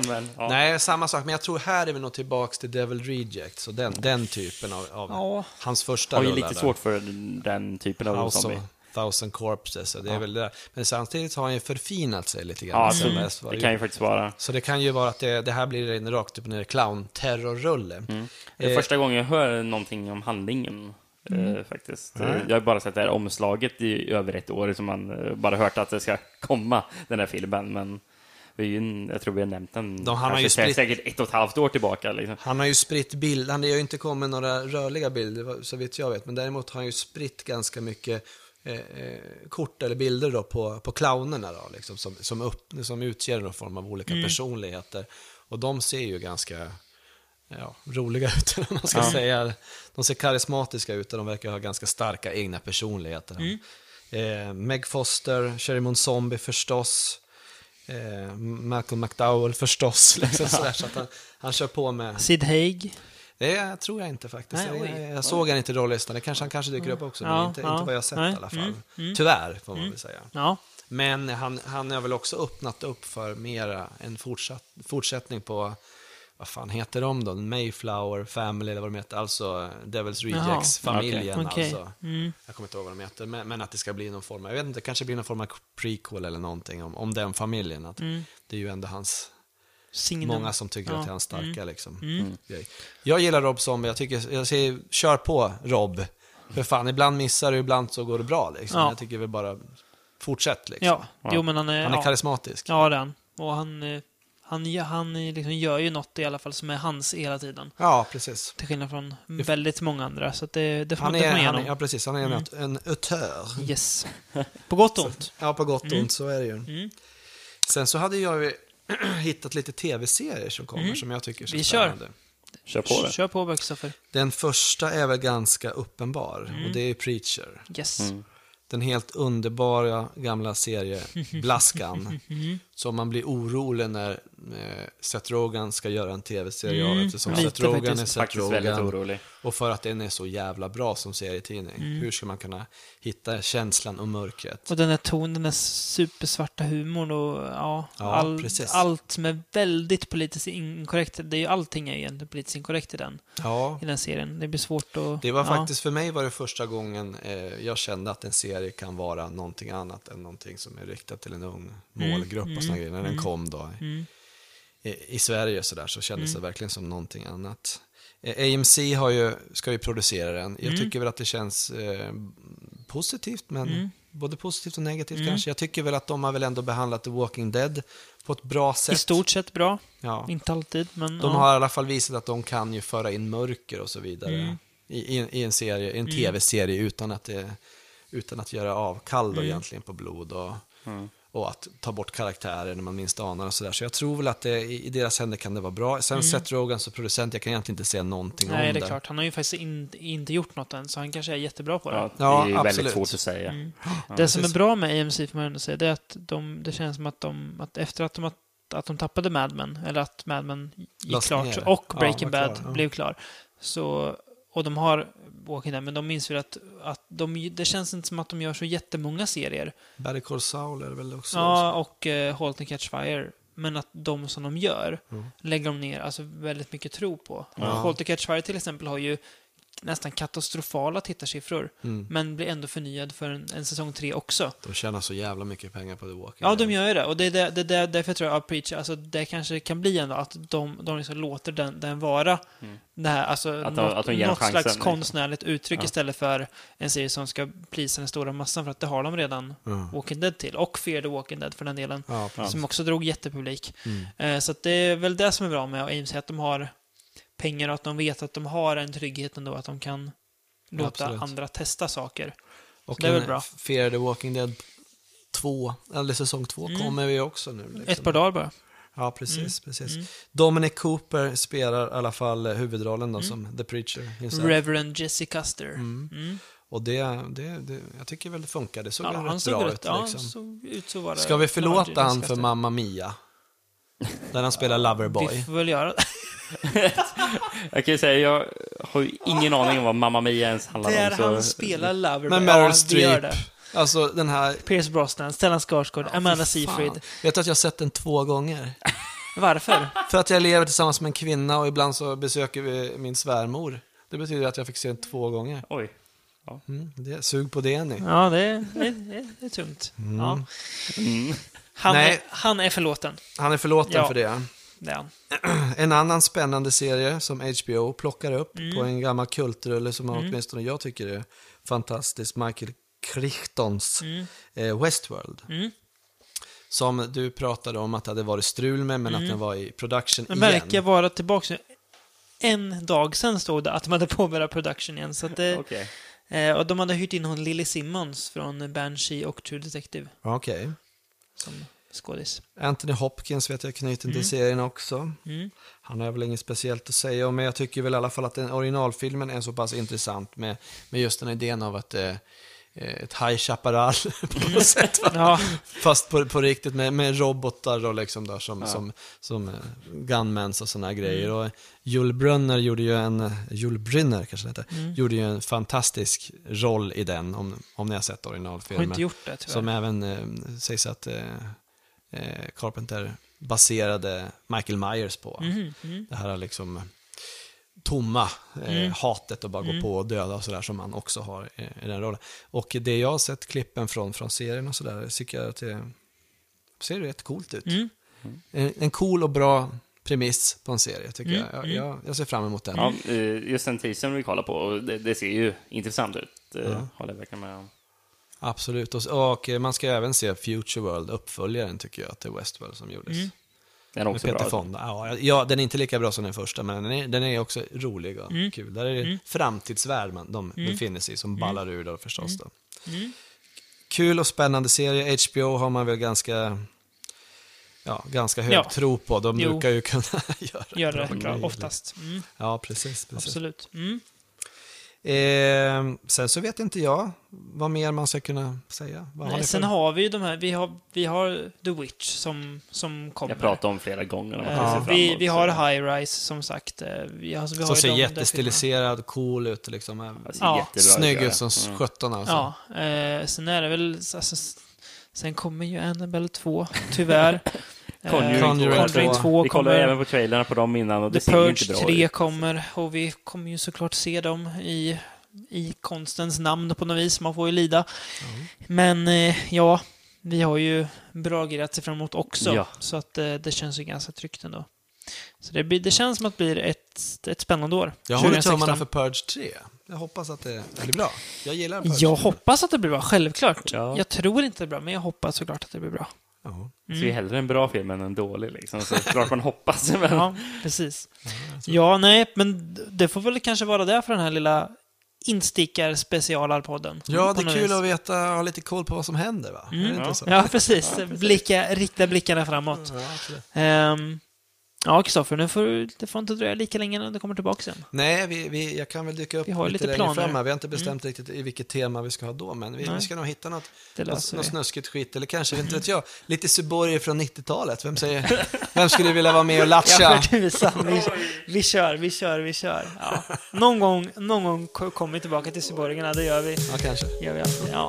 C: men, ja.
D: Nej, samma sak, men jag tror här är vi nog tillbaks till Devil Reject, så den, den typen av, av
B: Ja.
D: hans första
C: Har ju
D: rullar
C: lite
D: där.
C: svårt för den typen av
D: House
C: zombie.
D: of Thousand Corpses, så det är väl det. där. Men samtidigt har han ju förfinat sig lite grann.
C: Ja,
D: sen
C: alltså,
D: dess var
C: det
D: ju-
C: kan ju faktiskt vara.
D: Så det kan ju vara att det, det här blir en rakt upp och ner clown-terrorrulle.
C: Mm.
D: Eh,
C: Det är första gången jag hör någonting om handlingen.
D: Mm.
C: Eh, faktiskt. Eh, Jag har bara sett det här omslaget i över ett år, som man eh, bara hört att det ska komma, den här filmen. Men vi är ju, en- jag tror vi har nämnt den
D: De har ju
C: kanske
D: spritt-
C: säkert ett och ett halvt år tillbaka. Liksom.
D: Han har ju spritt bild, han det har ju inte kommit några rörliga bilder så vitt jag vet, men däremot har han ju spritt ganska mycket eh, eh, kort eller bilder då på, på clownerna då, liksom, som, som, upp, som utger någon form av olika personligheter. Och de ser ju ganska ja, roliga ut, om man ska säga. De ser karismatiska ut och de verkar ha ganska starka egna personligheter. Eh, Meg Foster, Sherry Moon Zombie förstås. Eh, Malcolm McDowell förstås. Liksom sådär, så att han, han kör på med...
B: Sid Haig.
D: Det tror jag inte faktiskt.
B: Nej,
D: jag,
B: oj. Mm.
D: jag, jag såg han inte i rollistan. Det kanske, han kanske dyker upp också, men
B: Ja,
D: inte,
B: ja,
D: inte vad jag har sett
B: nej,
D: i alla fall.
B: mm,
D: Tyvärr, får man väl säga.
B: Ja.
D: Men han, han har väl också öppnat upp för mera en fortsatt, fortsättning på, vad fan heter de då? Mayflower Family eller vad de heter. Alltså Devil's Rejects-familjen.
B: Okej. Mm.
D: Alltså. Jag kommer inte ihåg vad de heter. Men, men att det ska bli någon form av, jag vet inte, det kanske blir någon form av prequel eller någonting om, om den familjen. Att Det är ju ändå hans
B: Signum.
D: Många som tycker
B: Mm. Ja. Mm.
D: att det är hans starka liksom, grej. Jag gillar Rob Zombie, jag, tycker, jag säger kör på Rob. För fan, ibland missar du, ibland så går det bra liksom.
B: Ja.
D: Jag tycker väl bara, fortsätt liksom.
B: Ja. Jo, men han är...
D: Han är
B: ja.
D: karismatisk.
B: Ja, det är han. Och han, eh, han, gö- han eh, liksom gör ju något i alla fall som är hans hela tiden.
D: Ja, precis.
B: Till skillnad från väldigt många andra. Så att det, det får man
D: Han
B: inte
D: är,
B: komma
D: han
B: igenom.
D: är, ja, precis. Han är
B: Mm.
D: en, en autör.
B: Yes. På gott och ont.
D: Ja, på gott och
B: Mm.
D: ont, så är det ju. Sen så hade jag ju hittat lite tv-serier som kommer som jag tycker är
B: Mm. Vi
D: så
B: kör.
D: spännande.
C: Kör på det.
B: Kör på, Böckstoffer.
D: Den första är väl ganska uppenbar
B: Mm.
D: och det är Preacher.
B: Yes.
D: den helt underbara gamla serie Blaskan. som man blir orolig när eh, Seth Rogen ska göra en tv-serie av eftersom
B: Mm. Lite
D: Seth Rogen
B: faktiskt.
D: är Seth
C: Faktiskt väldigt
D: Rogen.
C: orolig.
D: Och för att den är så jävla bra som serietidning.
B: Mm.
D: Hur ska man kunna hitta känslan och mörkret?
B: Och den här tonen, den här supersvarta humorn och ja,
D: Ja, precis.
B: allt som är väldigt politiskt inkorrekt. Det är ju allting är ju egentligen politiskt inkorrekt i den,
D: Ja,
B: i den serien. Det blir svårt att...
D: det var
B: ja.
D: faktiskt för mig var det första gången eh, jag kände att en serie kan vara någonting annat än någonting som är riktat till en ung målgrupp
B: Mm.
D: och såna grejer. När den kom då. i, i Sverige så, där, så kändes
B: Mm.
D: det verkligen som någonting annat. Eh, AMC har ju, ska ju producera den. Jag
B: Mm.
D: tycker väl att det känns eh, positivt, men
B: Mm.
D: både positivt och negativt kanske. Jag tycker väl att de har väl ändå behandlat The Walking Dead på ett bra sätt.
B: I stort sett bra.
D: Ja.
B: Inte alltid, men...
D: De
B: ja.
D: har i alla fall visat att de kan ju föra in mörker och så vidare
B: Mm.
D: i, i, i en, serie, i en tv-serie utan att, det, utan att göra avkall
B: Mm.
D: då egentligen på blod och, och att ta bort karaktärer när man minst anar och sådär. Så jag tror väl att det, i i deras händer kan det vara bra. Sen Seth Rogen som producent, jag kan egentligen inte säga någonting
B: Mm. Nej,
D: om
B: det är klart. Han har ju faktiskt in, inte gjort något än, så han kanske är jättebra på det.
C: Ja, det
D: Ja,
C: är ju
D: absolut.
C: väldigt svårt att säga.
B: det som är
D: precis.
B: bra med AMC, får man ändå säga, det är att de, det känns som att de, att efter att de, att, att de tappade Mad Men, eller att Mad Men gick
D: Lades
B: klart
D: ner.
B: och
D: Ja,
B: Breaking
D: var
B: Bad
D: klar, ja.
B: blev klar, så, och de har Walking Dead, men de minns väl att, att de, det känns inte som att de gör så jättemånga serier.
D: Barry Call Saul är det väl också?
B: Ja, och eh, Halt and Catch Fire. Men att de som
D: Mm.
B: de gör lägger de ner alltså, väldigt mycket tro på. Halt and Catch Fire till exempel har ju nästan katastrofala tittarsiffror, men blir ändå förnyad för en, en säsong tre också.
D: Mm. De tjänar så jävla mycket pengar på The Walking
B: Ja, de gör ju det. Och det är där- det är där- därför jag tror att Preach, alltså det kanske kan bli ändå att de, de liksom låter den, den vara. Det här, alltså
C: Mm. Att de-
B: något,
C: att de ger
B: något
C: chansen,
B: slags
C: liksom.
B: konstnärligt uttryck
C: Ja.
B: istället för en serie som ska plisa den stora massan för att det har de redan
D: Ja.
B: Walking Dead till. Och Fear the Walking Dead för den delen.
D: Ja, precis.
B: Som också drog jättepublik.
D: Mm.
B: Eh, Så att det är väl det som är bra med Ames, att de har pengar och att de vet att de har en trygghet ändå, att de kan låta
D: Absolut.
B: andra testa saker.
D: Och
B: det är väl
D: en
B: bra.
D: Fear the Walking Dead 2, eller säsong 2
B: Mm.
D: kommer vi också nu. Liksom.
B: Ett par dagar bara.
D: Ja, precis. precis.
B: Mm.
D: Dominic Cooper spelar i alla fall eh, huvudrollen
B: Mm.
D: då, som The Preacher. himself.
B: Reverend Jesse Custer.
D: Mm.
B: Mm.
D: Och det, det, det, jag tycker väl det funkar. Det såg
B: Ja,
D: väl
B: han
D: rätt
B: såg
D: bra
B: rätt
D: ut.
B: ja,
D: liksom.
B: han såg ut så vara
D: Ska vi förlåta han för
B: Jessica
D: Mamma Mia? Där han spelar
B: Stein. Vi
D: Loverboy.
B: får väl göra det.
C: Jag kan ju säga, jag har ju ingen
D: Ah.
C: aning om vad Mamma Mia ens handlar
B: Där
C: om. så-
B: han spelar Loverboy.
D: Med
B: Ja,
D: Meryl
B: vi gör
D: Streep.
B: det.
D: Alltså den här...
B: Pierce Brosnan, Stellan Skarsgård, Amanda
D: Fan.
B: Seyfried.
D: Vet du att jag har sett den två gånger?
B: Varför?
D: För att jag lever tillsammans med en kvinna och ibland så besöker vi min svärmor. Det betyder att jag fick se den två gånger.
C: Oj.
D: Mm, det, sug på det ni.
B: Ja, det är, det är, det är tungt. Ja.
C: Mm.
B: Han, är,
D: Nej.
B: han är förlåten.
D: Han är förlåten
B: Ja.
D: för det.
B: Det är han.
D: En annan spännande serie som HBO plockar upp
B: Mm.
D: på en gammal kultrulle som åtminstone jag tycker är fantastisk, Michael Crichtons eh, Westworld.
B: Mm.
D: Som du pratade om att det hade varit strul med, men
B: Mm.
D: att den var i production
B: Den
D: igen.
B: verkar vara tillbaka nu. En dag sen stod det att de hade påbörjat production igen. Så att det,
C: Okej.
B: eh, och de hade hyrt in hon Lily Simmons från Banshee och True Detective
D: Okej.
B: som skådis.
D: Anthony Hopkins vet jag knuten till serien också.
B: Mm.
D: Han har väl inget speciellt att säga om, men jag tycker väl i alla fall att den originalfilmen är så pass intressant med, med just den här idén av att eh, eh, ett High Chaparral på något sätt. va?
B: Ja,
D: Fast på, på riktigt med, med robotar och liksom där som, som, som eh, gunmans och sådana grejer.
B: Mm.
D: Och Jul Brynner gjorde ju en, Jul Brynner kanske det
B: Mm.
D: heter, gjorde ju en fantastisk roll i den, om, om ni har sett
B: har
D: originalfilmen.
B: inte gjort det tyvärr.
D: Som även eh, sägs att eh, eh, Carpenter baserade Michael Myers på.
B: Mhm, mm.
D: Det här är liksom tomma eh, hatet och bara
B: Mm.
D: gå på och döda och sådär som man också har i, i den rollen. Och det jag har sett klippen från, från serien och sådär tycker jag att det ser rätt coolt ut.
B: Mm.
D: En, en cool och bra premiss på en serie tycker
B: Mm,
D: jag. Jag, jag. jag ser fram emot den.
C: Ja, eh, just den teasern vi kollar på, och det, det ser ju intressant ut. eh, Håller jag verkligen med om.
D: Absolut. Och, s- och eh, man ska även se Future World, uppföljaren tycker jag, till Westworld som gjordes.
B: Mm.
C: Den är
D: Med
C: också
D: Peter
C: bra.
D: Fonda. Ja, ja, den är inte lika bra som den första, men den är, den är också rolig och
B: Mm.
D: kul. Där är det framtidsvärld man, de befinner sig i, som ballar ur då förstås. Då.
B: Mm.
D: Kul och spännande serie. HBO har man väl ganska, ja, ganska hög
B: Ja.
D: tro på. De
B: Jo.
D: brukar ju kunna göra
B: Gör det
D: bra
B: bra,
D: grejer.
B: oftast. Mm,
D: Ja, precis. precis.
B: absolut. Mm.
D: Eh, sen så vet inte jag vad mer man ska kunna säga. Vad har
B: Nej,
D: ni
B: sen
D: för-
B: har vi ju de här, vi har, vi har The Witch som, som kommer.
C: Jag pratade om flera gånger. om att
B: Eh,
C: jag ser fram
B: vi,
C: emot,
B: vi
C: så-
B: har High Rise som sagt. Eh, Vi, alltså, vi har
D: Som
B: ju
D: ser
B: de där
D: jättestiliserad, cool ut liksom.
C: Det ser
B: Ja.
C: jättebra ut,
D: Snygg
C: gör
D: ut
C: det.
D: som
C: Alltså, Mm.
D: sjutton alltså.
B: filmerna. Ja, eh, sen är det väl, alltså, s- sen kommer ju Annabelle 2, tyvärr. Eh,
C: Conjuring
D: Conjuring 2.
B: 2
C: Vi kollade även
B: kommer.
C: på trailern på dem innan och det
B: The
C: ser ju inte
B: Purge
C: bra
B: 3
C: ut.
B: kommer och vi kommer ju såklart se dem i, i konstens namn på något vis. Man får ju lida. Men eh, ja, vi har ju bra grejer att se fram emot också.
C: Ja.
B: Så att eh, det känns ju ganska tryggt ändå. Så det, blir, det känns som att det blir ett, ett spännande år.
D: Jag håller
B: 2016.
D: tummarna för Purge 3. Jag hoppas att det blir bra. Jag gillar Purge.
B: Jag hoppas att det blir bra, självklart.
C: Ja.
B: Jag tror inte det blir bra, men jag hoppas såklart att det blir bra.
D: Ja.
C: Så
B: Mm.
C: det är hellre en bra film än en dålig liksom. Så klart man hoppas. Men...
B: Ja, precis.
D: Mm,
B: Ja, nej, men det får väl kanske vara det för den här lilla instickar-specialarpodden.
D: ja,
B: Mm, På
D: det är
B: något
D: kul
B: vis. Mm.
D: att veta, ha lite koll på vad som händer va? är det inte
C: ja.
D: så?
B: Ja, precis. Blicka, rikta blickarna framåt.
D: Ja, absolut.
B: Ehm, ja, Kristoffer, nu får du, det får inte dröja lika länge innan du kommer tillbaka igen.
D: Nej, vi, vi, jag kan väl dyka upp
B: Vi har ju
D: lite,
B: lite
D: längre
B: planer. Mm.
D: fram här. Vi har inte bestämt riktigt i vilket tema vi ska ha då, men vi,
B: Nej.
D: vi ska nog hitta något,
B: Det
D: något,
B: löser
D: något
B: vi.
D: snuskigt skit, eller kanske, inte vet jag, lite Suborger från 90-talet. Vem, säger, vem skulle vilja vara med och
B: Ja,
D: latcha?
B: för tusan. Vi, vi kör, vi kör, vi kör. Ja. Någon gång, någon gång ko- kommer vi tillbaka till cyborgerna, det gör vi.
D: Ja, kanske.
B: gör vi alltid. Ja.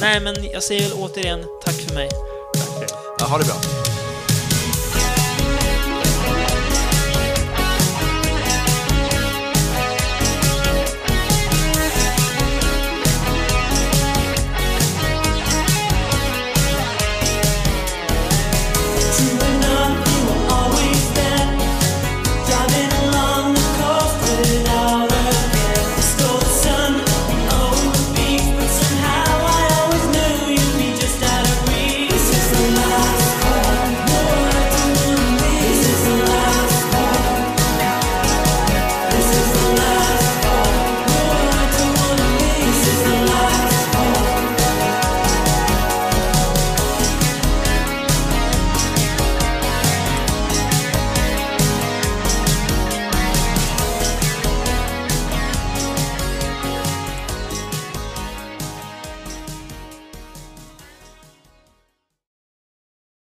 B: Nej, men jag säger väl återigen tack för mig.
D: Ja, ha det bra.